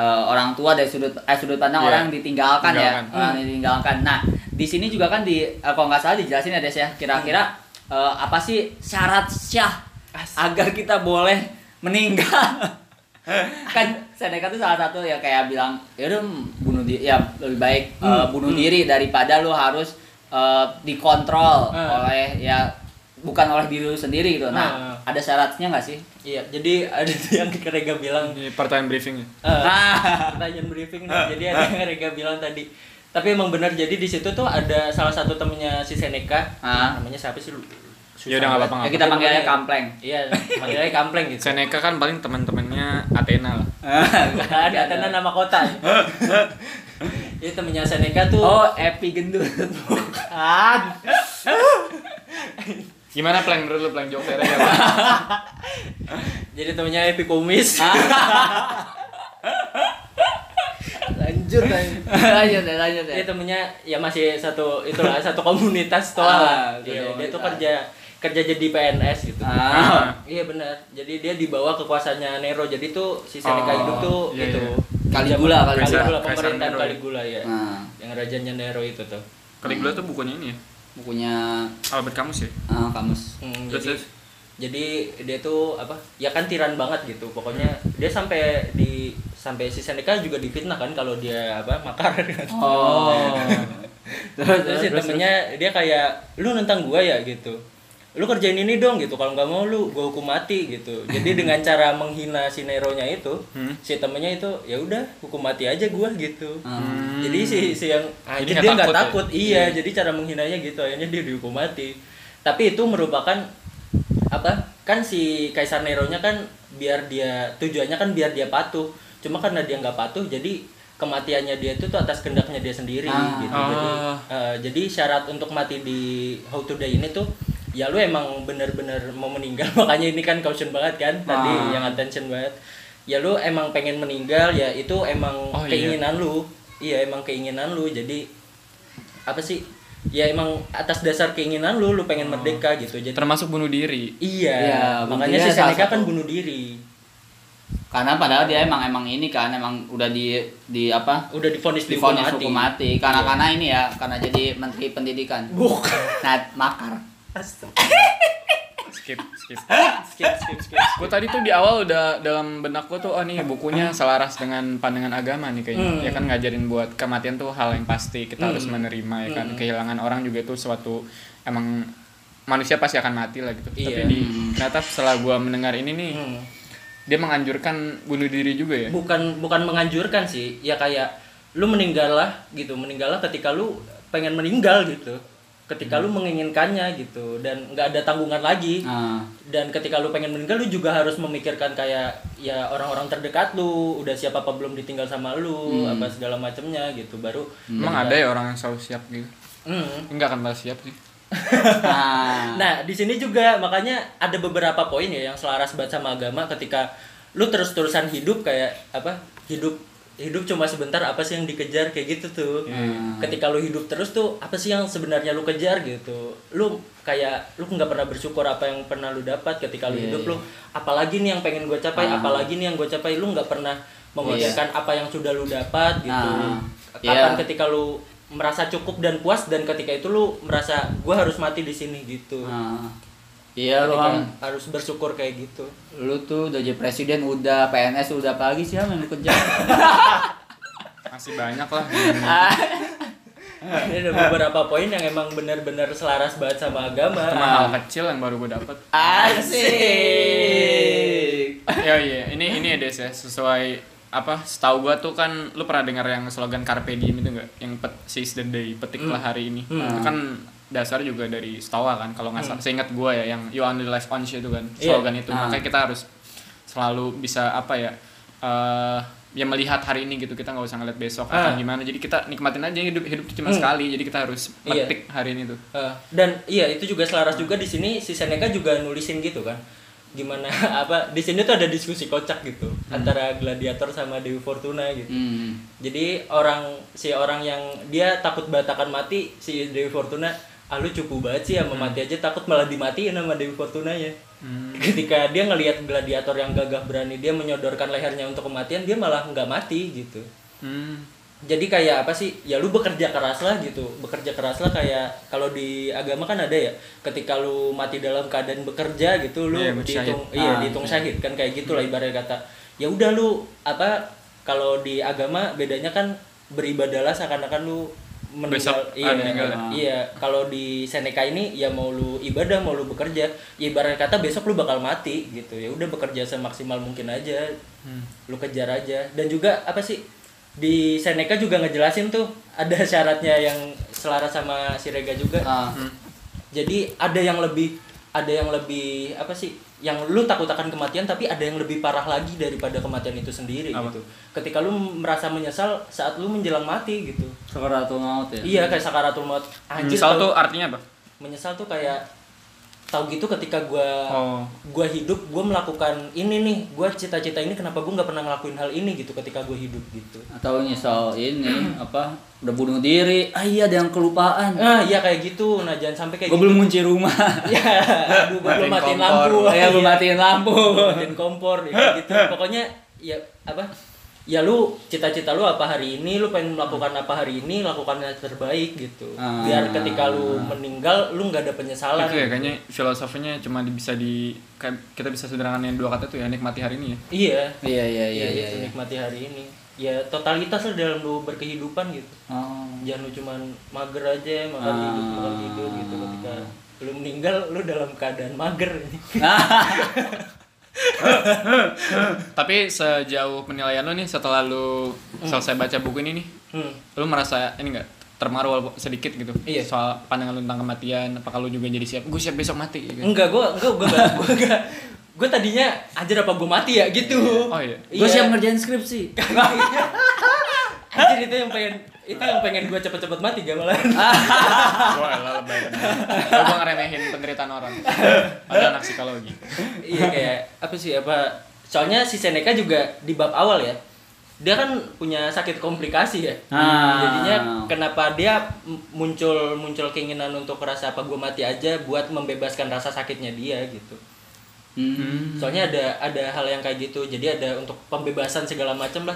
[SPEAKER 1] orang tua dari sudut eh, sudut pandang
[SPEAKER 3] Iya.
[SPEAKER 1] orang yang ditinggalkan ya
[SPEAKER 3] Tinggalkan.
[SPEAKER 1] orang yang ditinggalkan nah di sini juga kan di eh, kalau nggak salah dijelasin ya Des ya kira-kira eh, apa sih syarat syah agar kita boleh meninggal [LAUGHS] kan Seneca itu salah satu ya kayak bilang ya udah bunuh diri ya lebih baik eh, bunuh diri daripada lu harus eh, dikontrol
[SPEAKER 2] Ah.
[SPEAKER 1] oleh ya bukan oleh diri lu sendiri gitu. Nah, ada syaratnya nggak sih?
[SPEAKER 2] Iya, jadi ada yang Rega
[SPEAKER 3] [LAUGHS]
[SPEAKER 2] bilang
[SPEAKER 3] Ini pertanyaan briefingnya.
[SPEAKER 2] eh,
[SPEAKER 1] Ah.
[SPEAKER 2] pertanyaan briefing nih. Jadi ada yang Rega bilang tadi. Tapi emang benar jadi di situ tuh ada salah satu temennya si Seneca.
[SPEAKER 1] Ah.
[SPEAKER 2] Namanya siapa sih lu?
[SPEAKER 3] Ya udah nggak apa-apa.
[SPEAKER 1] Ya
[SPEAKER 3] nggak
[SPEAKER 1] kita
[SPEAKER 2] Apa
[SPEAKER 1] panggilnya
[SPEAKER 2] namanya?
[SPEAKER 1] kampleng.
[SPEAKER 2] apa-apa. Iya, manggilnya kampleng
[SPEAKER 3] apa-apa.
[SPEAKER 2] gitu.
[SPEAKER 3] Seneca kan paling teman-temannya Athena lah.
[SPEAKER 2] Nah, ada Athena nama kota. Jadi temennya Seneca tuh
[SPEAKER 1] Oh, Epi Gendut.
[SPEAKER 2] Ah,
[SPEAKER 3] Gimana plan menurut lu plan jokes ya?
[SPEAKER 1] [LAUGHS]
[SPEAKER 3] Pak?
[SPEAKER 2] jadi temennya Epi Kumis. [LAUGHS] Lanjut
[SPEAKER 1] [LAUGHS]
[SPEAKER 2] lanjut.
[SPEAKER 1] lanjut deh, lanjut deh.
[SPEAKER 2] Dia temennya ya masih satu itulah satu komunitas tuh.
[SPEAKER 1] Ah,
[SPEAKER 2] lah.
[SPEAKER 1] satu
[SPEAKER 2] Iya, dia tuh
[SPEAKER 1] komunitas.
[SPEAKER 2] kerja kerja jadi PNS gitu.
[SPEAKER 1] Ah.
[SPEAKER 2] Iya benar. Jadi dia dibawa kekuasaannya Nero. Jadi tuh si Seneca
[SPEAKER 3] Oh,
[SPEAKER 2] hidup tuh
[SPEAKER 3] iya,
[SPEAKER 2] itu.
[SPEAKER 3] iya.
[SPEAKER 1] Caligula,
[SPEAKER 2] Zaman-
[SPEAKER 1] Caligula.
[SPEAKER 2] Caligula,
[SPEAKER 3] Kaisar
[SPEAKER 2] pemerintahan
[SPEAKER 3] Nero. iya.
[SPEAKER 2] Caligula ya.
[SPEAKER 1] Nah,
[SPEAKER 2] Yang rajanya Nero itu tuh.
[SPEAKER 3] Caligula tuh bukunya ini ya.
[SPEAKER 1] bukunya
[SPEAKER 3] Albert Camus ya.
[SPEAKER 1] eh, kamus.
[SPEAKER 2] Hmm,
[SPEAKER 3] Terus,
[SPEAKER 2] jadi
[SPEAKER 3] terus.
[SPEAKER 2] jadi dia tuh apa ya kan tiran banget gitu pokoknya dia sampai di sampai si Seneca juga difitnah kan kalau dia apa makar
[SPEAKER 1] Oh. terus
[SPEAKER 2] terus si temennya dia kayak lu nentang gua ya gitu lu kerjain ini dong gitu kalau nggak mau lu gua hukum mati gitu jadi dengan cara menghina si Nero-nya itu
[SPEAKER 3] Hmm.
[SPEAKER 2] si temennya itu ya udah hukum mati aja gua gitu
[SPEAKER 1] Hmm.
[SPEAKER 2] jadi si si yang
[SPEAKER 3] Ah,
[SPEAKER 2] jadi
[SPEAKER 3] jadi
[SPEAKER 2] dia nggak
[SPEAKER 3] nggak takut
[SPEAKER 2] takut, iya jadi cara menghinanya gitu akhirnya dia dihukum mati tapi itu merupakan apa kan si kaisar Nero nya kan biar dia tujuannya kan biar dia patuh cuma karena dia nggak patuh jadi kematiannya dia itu tuh atas kendaknya dia sendiri
[SPEAKER 1] Ah.
[SPEAKER 2] gitu jadi
[SPEAKER 3] Ah.
[SPEAKER 2] eh, jadi syarat untuk mati di How to Die ini tuh ya lu emang bener-bener mau meninggal [LAUGHS] makanya ini kan caution banget kan tadi
[SPEAKER 1] Ah.
[SPEAKER 2] yang attention banget ya lu emang pengen meninggal ya itu emang
[SPEAKER 3] Oh, iya.
[SPEAKER 2] keinginan lu iya emang keinginan lu jadi apa sih ya emang atas dasar keinginan lu lu pengen merdeka gitu jadi
[SPEAKER 3] Termasuk bunuh diri.
[SPEAKER 2] iya
[SPEAKER 1] Oh. Iya,
[SPEAKER 2] makanya si
[SPEAKER 1] dia salah
[SPEAKER 2] Seneca kan
[SPEAKER 1] satu.
[SPEAKER 2] bunuh diri
[SPEAKER 1] Karena padahal dia emang emang ini kan emang udah di di apa?
[SPEAKER 2] udah difonis dihukum
[SPEAKER 1] difonis
[SPEAKER 2] mati,
[SPEAKER 1] hukum mati karena karena ini ya karena jadi menteri pendidikan
[SPEAKER 2] bukan [LAUGHS]
[SPEAKER 1] nah makar
[SPEAKER 3] Skip, skip.
[SPEAKER 2] skip skip skip
[SPEAKER 3] Gue tadi tuh di awal udah dalam benak gue tuh oh nih bukunya selaras dengan pandangan agama nih kayaknya.
[SPEAKER 2] Hmm.
[SPEAKER 3] Ya kan ngajarin buat kematian tuh hal yang pasti kita harus menerima ya
[SPEAKER 2] Hmm.
[SPEAKER 3] kan. Kehilangan orang juga itu suatu emang manusia pasti akan mati lah gitu. Tapi
[SPEAKER 2] Iya.
[SPEAKER 3] di ternyata setelah gue mendengar ini nih
[SPEAKER 2] Hmm.
[SPEAKER 3] dia menganjurkan bunuh diri juga ya.
[SPEAKER 2] bukan bukan menganjurkan sih ya kayak lu meninggallah gitu meninggallah ketika lu pengen meninggal gitu ketika lu menginginkannya gitu dan nggak ada tanggungan lagi
[SPEAKER 1] nah,
[SPEAKER 2] dan ketika lu pengen meninggal lu juga harus memikirkan kayak ya orang-orang terdekat lu udah siapa apa belum ditinggal sama lu apa segala macemnya gitu baru
[SPEAKER 3] Emang ada ya orang yang selalu siap gitu.
[SPEAKER 2] Hmm.
[SPEAKER 3] Enggak akan pernah siap sih.
[SPEAKER 1] nah
[SPEAKER 2] Nah, di sini juga makanya ada beberapa poin ya yang selaras banget sama agama ketika lu terus-terusan hidup kayak apa? Hidup hidup cuma sebentar apa sih yang dikejar kayak gitu tuh.
[SPEAKER 1] Hmm.
[SPEAKER 2] Ketika lu hidup terus tuh apa sih yang sebenarnya lu kejar gitu. Lu kayak lu nggak pernah bersyukur apa yang pernah lu dapat ketika lu
[SPEAKER 1] Iya,
[SPEAKER 2] hidup lu apalagi nih yang pengen gue capai,
[SPEAKER 1] Ah.
[SPEAKER 2] apalagi nih yang gue capai lu nggak pernah memikirkan apa yang sudah lu dapat gitu.
[SPEAKER 1] Iya. Ah.
[SPEAKER 2] Kapan
[SPEAKER 1] Iya.
[SPEAKER 2] ketika lu merasa cukup dan puas dan ketika itu lu merasa gue harus mati di sini gitu
[SPEAKER 1] nah. iya lu
[SPEAKER 2] Ketika
[SPEAKER 1] Ham.
[SPEAKER 2] harus bersyukur kayak gitu
[SPEAKER 1] lu tuh udah jadi presiden udah PNS udah pagi sih Ham, yang lu kerja [LAUGHS]
[SPEAKER 3] Masih banyak
[SPEAKER 2] [LAUGHS]
[SPEAKER 3] lah.
[SPEAKER 1] Iya.
[SPEAKER 2] ini ada beberapa poin yang emang benar-benar selaras banget sama agama
[SPEAKER 3] Cuma hal kecil yang baru gue dapet.
[SPEAKER 1] asik
[SPEAKER 3] ya iya ini ini ya Des ya sesuai apa setahu gua tuh kan lu pernah dengar yang slogan carpe diem itu enggak yang pet, seize the day petiklah
[SPEAKER 2] Hmm.
[SPEAKER 3] hari ini itu kan dasar juga dari Stoa kan kalau nggak salah seingat gua ya yang you only live once itu kan
[SPEAKER 2] Hmm. Iya.
[SPEAKER 3] slogan itu
[SPEAKER 1] Ah.
[SPEAKER 3] makanya kita harus selalu bisa apa ya eh ya melihat hari ini gitu kita nggak usah ngeliat besok
[SPEAKER 2] Ah. Hmm.
[SPEAKER 3] akan gimana jadi kita nikmatin aja hidup hidup tuh cuma sekali jadi kita harus
[SPEAKER 2] Iya.
[SPEAKER 3] petik hari ini tuh
[SPEAKER 2] Eh, dan iya itu juga selaras juga di sini si Seneca juga nulisin gitu kan gimana [LAUGHS] apa di sini tuh ada diskusi kocak gitu antara gladiator sama Dewi Fortuna gitu
[SPEAKER 1] Hmm.
[SPEAKER 2] jadi orang si orang yang dia takut batakan mati si Dewi Fortuna ah lu cukup banget sih sama mati aja takut malah dimatiin sama Dewi Fortunanya ketika dia ngelihat gladiator yang gagah berani dia menyodorkan lehernya untuk kematian dia malah nggak mati gitu
[SPEAKER 3] Hmm.
[SPEAKER 2] jadi kayak apa sih ya lu bekerja keras lah gitu bekerja keras lah kayak kalau di agama kan ada ya ketika lu mati dalam keadaan bekerja gitu lu
[SPEAKER 3] Iya, bersyahid.
[SPEAKER 2] dihitung iya
[SPEAKER 1] Ah,
[SPEAKER 2] dihitung syahid kan kayak gitu lah ibarat kata ya udah lu apa kalau di agama bedanya kan beribadahlah seakan-akan lu meninggal
[SPEAKER 3] Besok, ah,
[SPEAKER 2] iya
[SPEAKER 3] meninggal ya.
[SPEAKER 2] iya kalau di Seneca ini ya mau lu ibadah mau lu bekerja ya ibarat kata besok lu bakal mati gitu ya udah bekerja semaksimal mungkin aja lu kejar aja dan juga apa sih di Seneca juga ngejelasin tuh ada [LAUGHS] syaratnya yang selaras sama Sirega juga
[SPEAKER 1] Ah.
[SPEAKER 2] jadi ada yang lebih ada yang lebih apa sih yang lu takut akan kematian tapi ada yang lebih parah lagi daripada kematian itu sendiri
[SPEAKER 3] Apa?
[SPEAKER 2] gitu ketika lu merasa menyesal saat lu menjelang mati gitu
[SPEAKER 1] Sakaratul maut ya.
[SPEAKER 2] iya kayak sakaratul maut anjir
[SPEAKER 3] Misal
[SPEAKER 2] kalau-
[SPEAKER 3] tuh artinya apa?
[SPEAKER 2] menyesal tuh kayak tahu gitu ketika gua
[SPEAKER 3] Oh.
[SPEAKER 2] gua hidup gua melakukan ini nih gua cita-cita ini kenapa gua nggak pernah ngelakuin hal ini gitu ketika gua hidup gitu
[SPEAKER 1] Atau nyesal ini apa udah bunuh diri. Ah iya ada yang kelupaan.
[SPEAKER 2] ah iya kayak gitu nah jangan sampai kayak
[SPEAKER 1] Gue
[SPEAKER 2] gitu
[SPEAKER 1] belum kunci rumah.
[SPEAKER 2] ya aduh gua belum matiin
[SPEAKER 3] Matiin
[SPEAKER 2] lampu
[SPEAKER 3] kompor.
[SPEAKER 1] Ya belum
[SPEAKER 2] Iya.
[SPEAKER 1] matiin lampu.
[SPEAKER 2] dan kompor ya kayak gitu pokoknya ya apa ya lu cita-cita lu apa hari ini lu pengen melakukan apa hari ini lakukan yang terbaik gitu
[SPEAKER 1] Ah.
[SPEAKER 2] biar ketika lu meninggal lu nggak ada penyesalan
[SPEAKER 3] Itu ya kayaknya filosofinya cuma di- bisa di kayak kita bisa sederhanain dua kata tuh ya nikmati hari ini ya.
[SPEAKER 2] iya
[SPEAKER 1] Iya iya iya
[SPEAKER 2] iya,
[SPEAKER 1] iya.
[SPEAKER 2] gitu,
[SPEAKER 1] iya.
[SPEAKER 2] nikmati hari ini ya totalitas lah dalam lu berkehidupan gitu
[SPEAKER 1] Oh.
[SPEAKER 2] jangan lu cuman mager aja makan
[SPEAKER 1] Ah.
[SPEAKER 2] hidup makan tidur gitu ketika lu meninggal lu dalam keadaan mager ini
[SPEAKER 3] Tapi sejauh penilaian lu nih setelah lu selesai baca buku ini nih,
[SPEAKER 2] [LAUGHS] hmm.
[SPEAKER 3] lu merasa ini enggak termaru walaupun sedikit gitu
[SPEAKER 2] Iya.
[SPEAKER 3] soal pandangan lu tentang kematian apakah lu juga jadi siap gue siap besok mati
[SPEAKER 2] [LAUGHS]
[SPEAKER 3] gitu.
[SPEAKER 2] enggak gua enggak gua enggak gua enggak gua tadinya anjir apa gua mati ya gitu
[SPEAKER 3] oh iya
[SPEAKER 1] Gue siap ngerjain skripsi.
[SPEAKER 2] anjir itu yang pengen itu yang pengen gua cepet-cepet mati gak malah
[SPEAKER 3] gue elah lebay gue ngeremehin penderitaan orang ada anak psikologi
[SPEAKER 2] iya kayak apa sih apa soalnya si Seneca juga di bab awal ya dia kan punya sakit komplikasi ya
[SPEAKER 1] Ah.
[SPEAKER 2] jadinya kenapa dia m- muncul muncul keinginan untuk rasa apa gue mati aja buat membebaskan rasa sakitnya dia gitu
[SPEAKER 1] Hmm.
[SPEAKER 2] soalnya ada ada hal yang kayak gitu jadi ada untuk pembebasan segala macam lah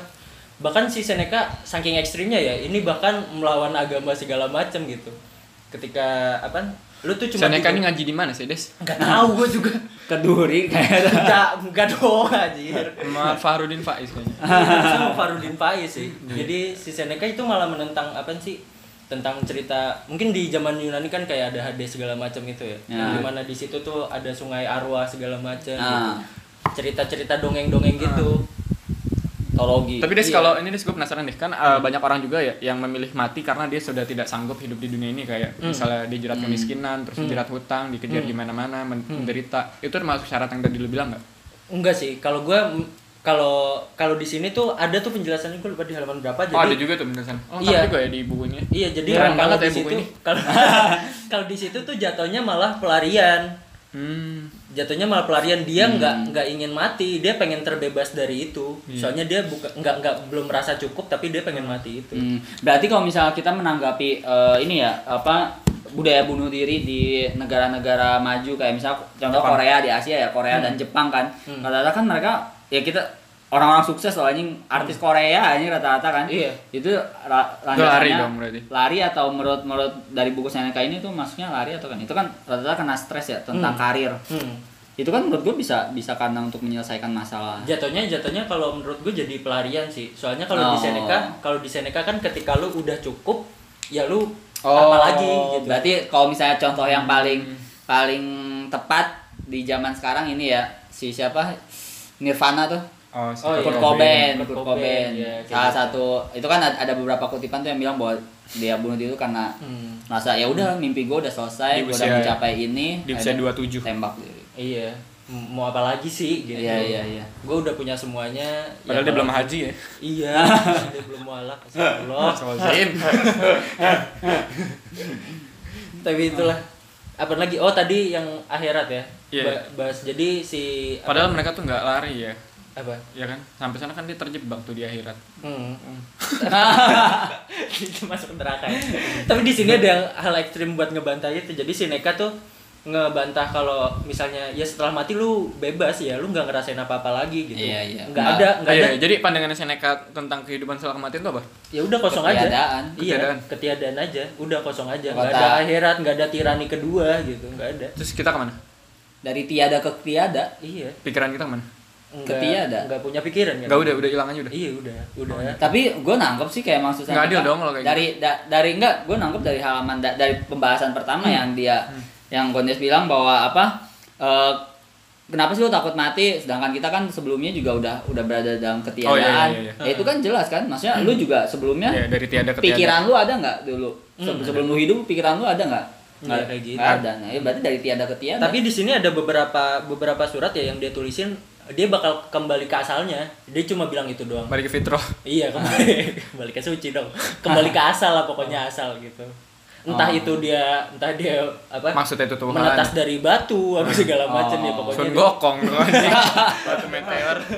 [SPEAKER 2] bahkan si Seneca saking ekstrimnya ya ini bahkan melawan agama segala macam gitu ketika apa lu tuh cuma gitu. hidup-
[SPEAKER 3] Seneca ini kan ngaji di mana sih Des?
[SPEAKER 2] nggak tahu gue
[SPEAKER 3] [LAUGHS]
[SPEAKER 2] juga
[SPEAKER 1] Keduri kayak
[SPEAKER 2] nggak nggak dong anjir
[SPEAKER 3] Sama Fahrudin Faiz kayaknya
[SPEAKER 2] sama Farudin Faiz sih.
[SPEAKER 3] Iya.
[SPEAKER 2] Jadi si Seneca itu malah menentang apa sih? Tentang cerita mungkin di zaman Yunani kan kayak ada Hades segala macam itu ya.
[SPEAKER 1] Ya.
[SPEAKER 2] Yang dimana di situ tuh ada sungai Arwa segala macam.
[SPEAKER 1] Ah.
[SPEAKER 2] gitu. Cerita-cerita dongeng-dongeng gitu.
[SPEAKER 1] Tologi.
[SPEAKER 3] Tapi
[SPEAKER 2] Iya.
[SPEAKER 3] Des
[SPEAKER 2] Hmm.
[SPEAKER 3] kalau ini Des gue penasaran deh kan uh, banyak orang juga ya yang memilih mati karena dia sudah tidak sanggup hidup di dunia ini kayak
[SPEAKER 2] Hmm.
[SPEAKER 3] misalnya dijerat kemiskinan, terus dijerat hutang, dikejar di mana-mana, men-
[SPEAKER 2] Hmm.
[SPEAKER 3] menderita. Itu termasuk syarat yang tadi lu bilang nggak?
[SPEAKER 2] Enggak sih, kalau gua m- kalau kalau di sini tuh ada tuh penjelasannya gue lupa di halaman berapa jadi
[SPEAKER 3] Oh ada juga tuh penjelasan. Oh
[SPEAKER 2] Iya.
[SPEAKER 3] iya. juga ya di bukunya.
[SPEAKER 2] Iya, jadi
[SPEAKER 3] Keren
[SPEAKER 2] kalau
[SPEAKER 3] banget
[SPEAKER 2] di
[SPEAKER 3] ya buku
[SPEAKER 2] situ
[SPEAKER 3] ini.
[SPEAKER 2] [LAUGHS] kalau kalau di situ tuh jatuhnya malah pelarian.
[SPEAKER 3] Hmm.
[SPEAKER 2] jatuhnya malah pelarian dia nggak nggak ingin mati dia pengen terbebas dari itu soalnya dia buka nggak nggak belum merasa cukup tapi dia pengen mati itu
[SPEAKER 1] Hmm, berarti kalau misalnya kita menanggapi eh, ini ya apa budaya bunuh diri di negara-negara maju kayak misalnya contoh Korea di Asia ya Korea
[SPEAKER 3] Hmm.
[SPEAKER 1] dan Jepang kan rata-rata kan mereka ya kita orang-orang sukses loh anjing artis Korea anjing rata-rata kan
[SPEAKER 2] Iya.
[SPEAKER 1] itu ra-
[SPEAKER 3] Hmm. Itu lari
[SPEAKER 1] landasannya
[SPEAKER 3] dong berarti.
[SPEAKER 1] lari atau menurut menurut dari buku Seneca ini tuh maksudnya lari atau kan itu kan rata-rata kena stres ya tentang karir
[SPEAKER 2] Hmm.
[SPEAKER 1] itu kan menurut gue bisa bisa karena untuk menyelesaikan masalah
[SPEAKER 2] jatuhnya jatuhnya kalau menurut gue jadi pelarian sih soalnya kalau di
[SPEAKER 1] Oh.
[SPEAKER 2] Seneca kalau di Seneca kan ketika lu udah cukup ya lu
[SPEAKER 1] Oh,
[SPEAKER 2] apa lagi gitu
[SPEAKER 1] Berarti kalau misalnya contoh yang
[SPEAKER 2] Hmm.
[SPEAKER 1] paling paling tepat di zaman sekarang ini ya si siapa Nirvana tuh
[SPEAKER 3] Oh, si
[SPEAKER 2] Oh, iya.
[SPEAKER 1] Kurt
[SPEAKER 3] Kurt
[SPEAKER 1] Cobain,
[SPEAKER 2] Kurt
[SPEAKER 1] Kurt
[SPEAKER 2] Cobain,
[SPEAKER 1] Cobain.
[SPEAKER 2] iya, kayak
[SPEAKER 1] Salah
[SPEAKER 2] gitu.
[SPEAKER 1] satu itu kan ad- ada beberapa kutipan tuh yang bilang bahwa dia bunuh diri itu karena
[SPEAKER 2] Hmm.
[SPEAKER 1] merasa ya udah mimpi gue udah selesai, gue
[SPEAKER 3] Di usia-
[SPEAKER 1] udah mencapai ini.
[SPEAKER 3] di usia
[SPEAKER 1] akhirnya
[SPEAKER 3] 27.
[SPEAKER 1] Tembak diri.
[SPEAKER 2] Iya. M- Mau apa lagi sih gitu.
[SPEAKER 1] Iya, iya, iya.
[SPEAKER 2] Gue udah punya semuanya. Ya,
[SPEAKER 3] Padahal dia belum
[SPEAKER 2] kalau-
[SPEAKER 3] haji ya.
[SPEAKER 2] Iya, [LAUGHS] dia belum mualaf.
[SPEAKER 3] [LAUGHS]
[SPEAKER 2] Astagfirullah.
[SPEAKER 3] Astagfirullahaladzim.
[SPEAKER 2] Tapi itulah. Apa lagi? Oh, tadi yang akhirat ya.
[SPEAKER 3] Iya.
[SPEAKER 2] Ba- bahas jadi si apa-
[SPEAKER 3] Padahal mereka tuh nggak lari ya.
[SPEAKER 2] apa?
[SPEAKER 3] Ya kan? Sampai sana kan dia terjebak tuh di akhirat.
[SPEAKER 2] Hmm. [LAUGHS] Itu masuk neraka. ya. Tapi di sini ada yang hal ekstrim buat ngebantah itu. Jadi si Neka tuh ngebantah kalau misalnya ya setelah mati lu bebas ya lu nggak ngerasain apa-apa lagi gitu.
[SPEAKER 1] Iya, iya.
[SPEAKER 2] Nggak
[SPEAKER 1] Nggak-
[SPEAKER 2] ada,
[SPEAKER 3] Ah,
[SPEAKER 2] nggak ada.
[SPEAKER 3] iya, jadi pandangan Seneca tentang kehidupan setelah kematian tuh apa?
[SPEAKER 2] Ya udah kosong
[SPEAKER 1] Ketiadaan.
[SPEAKER 2] aja. Iya,
[SPEAKER 3] Ketiadaan.
[SPEAKER 2] ketiadaan aja. Udah kosong aja. Nggak
[SPEAKER 1] Kota.
[SPEAKER 2] ada akhirat, nggak ada tirani kedua gitu, nggak ada.
[SPEAKER 3] Terus kita kemana?
[SPEAKER 1] Dari tiada ke tiada.
[SPEAKER 2] Iya.
[SPEAKER 3] Pikiran kita kemana?
[SPEAKER 2] Nggak-
[SPEAKER 1] Ketiada.
[SPEAKER 2] Nggak punya pikiran kan?
[SPEAKER 3] Gak udah, udah hilang aja udah.
[SPEAKER 2] Iya, udah. Udah.
[SPEAKER 1] Tapi gue nangkep sih kayak maksudnya
[SPEAKER 3] Nggak adil dong kalau kayak gitu.
[SPEAKER 1] dari da- dari enggak gue nangkep dari halaman da- dari pembahasan pertama
[SPEAKER 3] Hmm.
[SPEAKER 1] yang dia yang Gondes bilang bahwa apa eh, kenapa sih lo takut mati sedangkan kita kan sebelumnya juga udah udah berada dalam ketiadaan
[SPEAKER 3] iya, iya, iya.
[SPEAKER 1] Ya itu kan jelas kan maksudnya lu juga sebelumnya
[SPEAKER 3] Iya, Hmm, dari tiada ke tiada.
[SPEAKER 1] pikiran lu ada nggak dulu Se- sebelum lu hidup pikiran lu ada nggak
[SPEAKER 2] Nggak kayak gitu.
[SPEAKER 1] nggak ada nah ya berarti dari tiada ke tiada
[SPEAKER 2] Tapi di sini ada beberapa beberapa surat ya yang dia tulisin dia bakal kembali ke asalnya. Dia cuma bilang itu doang.
[SPEAKER 3] Balik ke fitrah.
[SPEAKER 2] Iya,
[SPEAKER 3] Ah.
[SPEAKER 2] kembali [LAUGHS] kembali ke suci dong. Kembali ke asal lah pokoknya asal gitu. Entah itu dia entah dia apa?
[SPEAKER 3] Maksudnya itu Oh. Tuhan. Ah. Oh.
[SPEAKER 2] Menetas dari batu apa segala macam ya pokoknya.
[SPEAKER 3] Sun
[SPEAKER 2] dia-
[SPEAKER 3] Gokong dong anjing. Batu meteor.
[SPEAKER 2] [LAUGHS]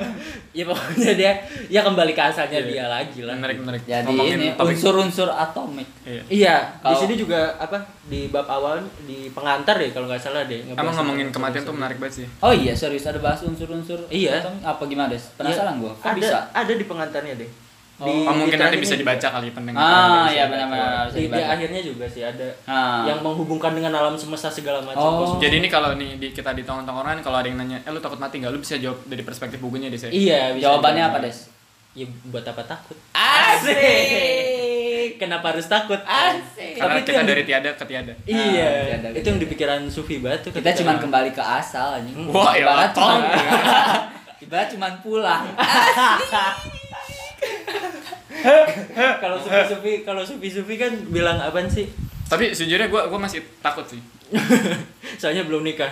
[SPEAKER 2] Ya pokoknya dia ya kembali ke asalnya dia lagi lah.
[SPEAKER 3] Iya. Menarik, menarik.
[SPEAKER 1] jadi
[SPEAKER 3] Ngomongin
[SPEAKER 1] ini
[SPEAKER 3] topik.
[SPEAKER 1] unsur-unsur atomik
[SPEAKER 3] Iya.
[SPEAKER 2] Iya, di
[SPEAKER 1] Kalau-
[SPEAKER 2] sini juga apa di bab awal di pengantar deh kalau nggak salah deh. ngebahas
[SPEAKER 3] Emang ngomongin
[SPEAKER 2] tentang-
[SPEAKER 3] kematian tuh menarik banget sih.
[SPEAKER 1] Oh iya serius ada bahas unsur-unsur
[SPEAKER 2] Iya.
[SPEAKER 1] atomik apa gimana Des? Penasaran
[SPEAKER 2] Iya,
[SPEAKER 1] gua. Kok
[SPEAKER 2] ada,
[SPEAKER 1] bisa?
[SPEAKER 2] Ada di pengantarnya deh.
[SPEAKER 1] Oh.
[SPEAKER 2] Di-
[SPEAKER 3] Oh,
[SPEAKER 2] di
[SPEAKER 3] mungkin nanti
[SPEAKER 2] terakhirnya
[SPEAKER 3] bisa
[SPEAKER 2] juga.
[SPEAKER 3] dibaca kali pendengar.
[SPEAKER 1] Ah
[SPEAKER 3] Bisa
[SPEAKER 1] iya
[SPEAKER 3] dibaca.
[SPEAKER 1] benar-benar harus
[SPEAKER 2] Di, di
[SPEAKER 1] dibaca.
[SPEAKER 2] akhirnya juga sih ada
[SPEAKER 1] Ah.
[SPEAKER 2] yang menghubungkan dengan alam semesta segala macam.
[SPEAKER 1] Oh.
[SPEAKER 2] kosmos.
[SPEAKER 3] Jadi ini kalau nih di, kita di tongkrongan kalau ada yang nanya, "Eh lu takut mati nggak?" Lu bisa jawab dari perspektif bukunya deh, Shay.
[SPEAKER 2] Iya, bisa
[SPEAKER 1] Jawabannya
[SPEAKER 2] dibaca.
[SPEAKER 1] apa Des?
[SPEAKER 2] Ya buat apa takut?
[SPEAKER 1] Asik.
[SPEAKER 2] [LAUGHS] Kenapa harus takut?
[SPEAKER 1] Asik.
[SPEAKER 3] Karena
[SPEAKER 2] Tapi itu
[SPEAKER 3] kita
[SPEAKER 2] yang-
[SPEAKER 3] dari tiada ke tiada.
[SPEAKER 2] Iya,
[SPEAKER 1] Ah, ada-
[SPEAKER 2] itu yang di pikiran Sufi batu.
[SPEAKER 1] Kita cuman kembali ke asal anjing.
[SPEAKER 2] Iya,
[SPEAKER 3] Wah, ya
[SPEAKER 1] Ibarat
[SPEAKER 3] lapang.
[SPEAKER 1] cuman- [LAUGHS] Ibarat cuman pulang.
[SPEAKER 2] kalau Sufi Sufi kalau Sufi Sufi kan bilang apaan sih? [LAUGHS]
[SPEAKER 3] Tapi sejujurnya gua gua masih takut sih.
[SPEAKER 2] Soalnya belum nikah.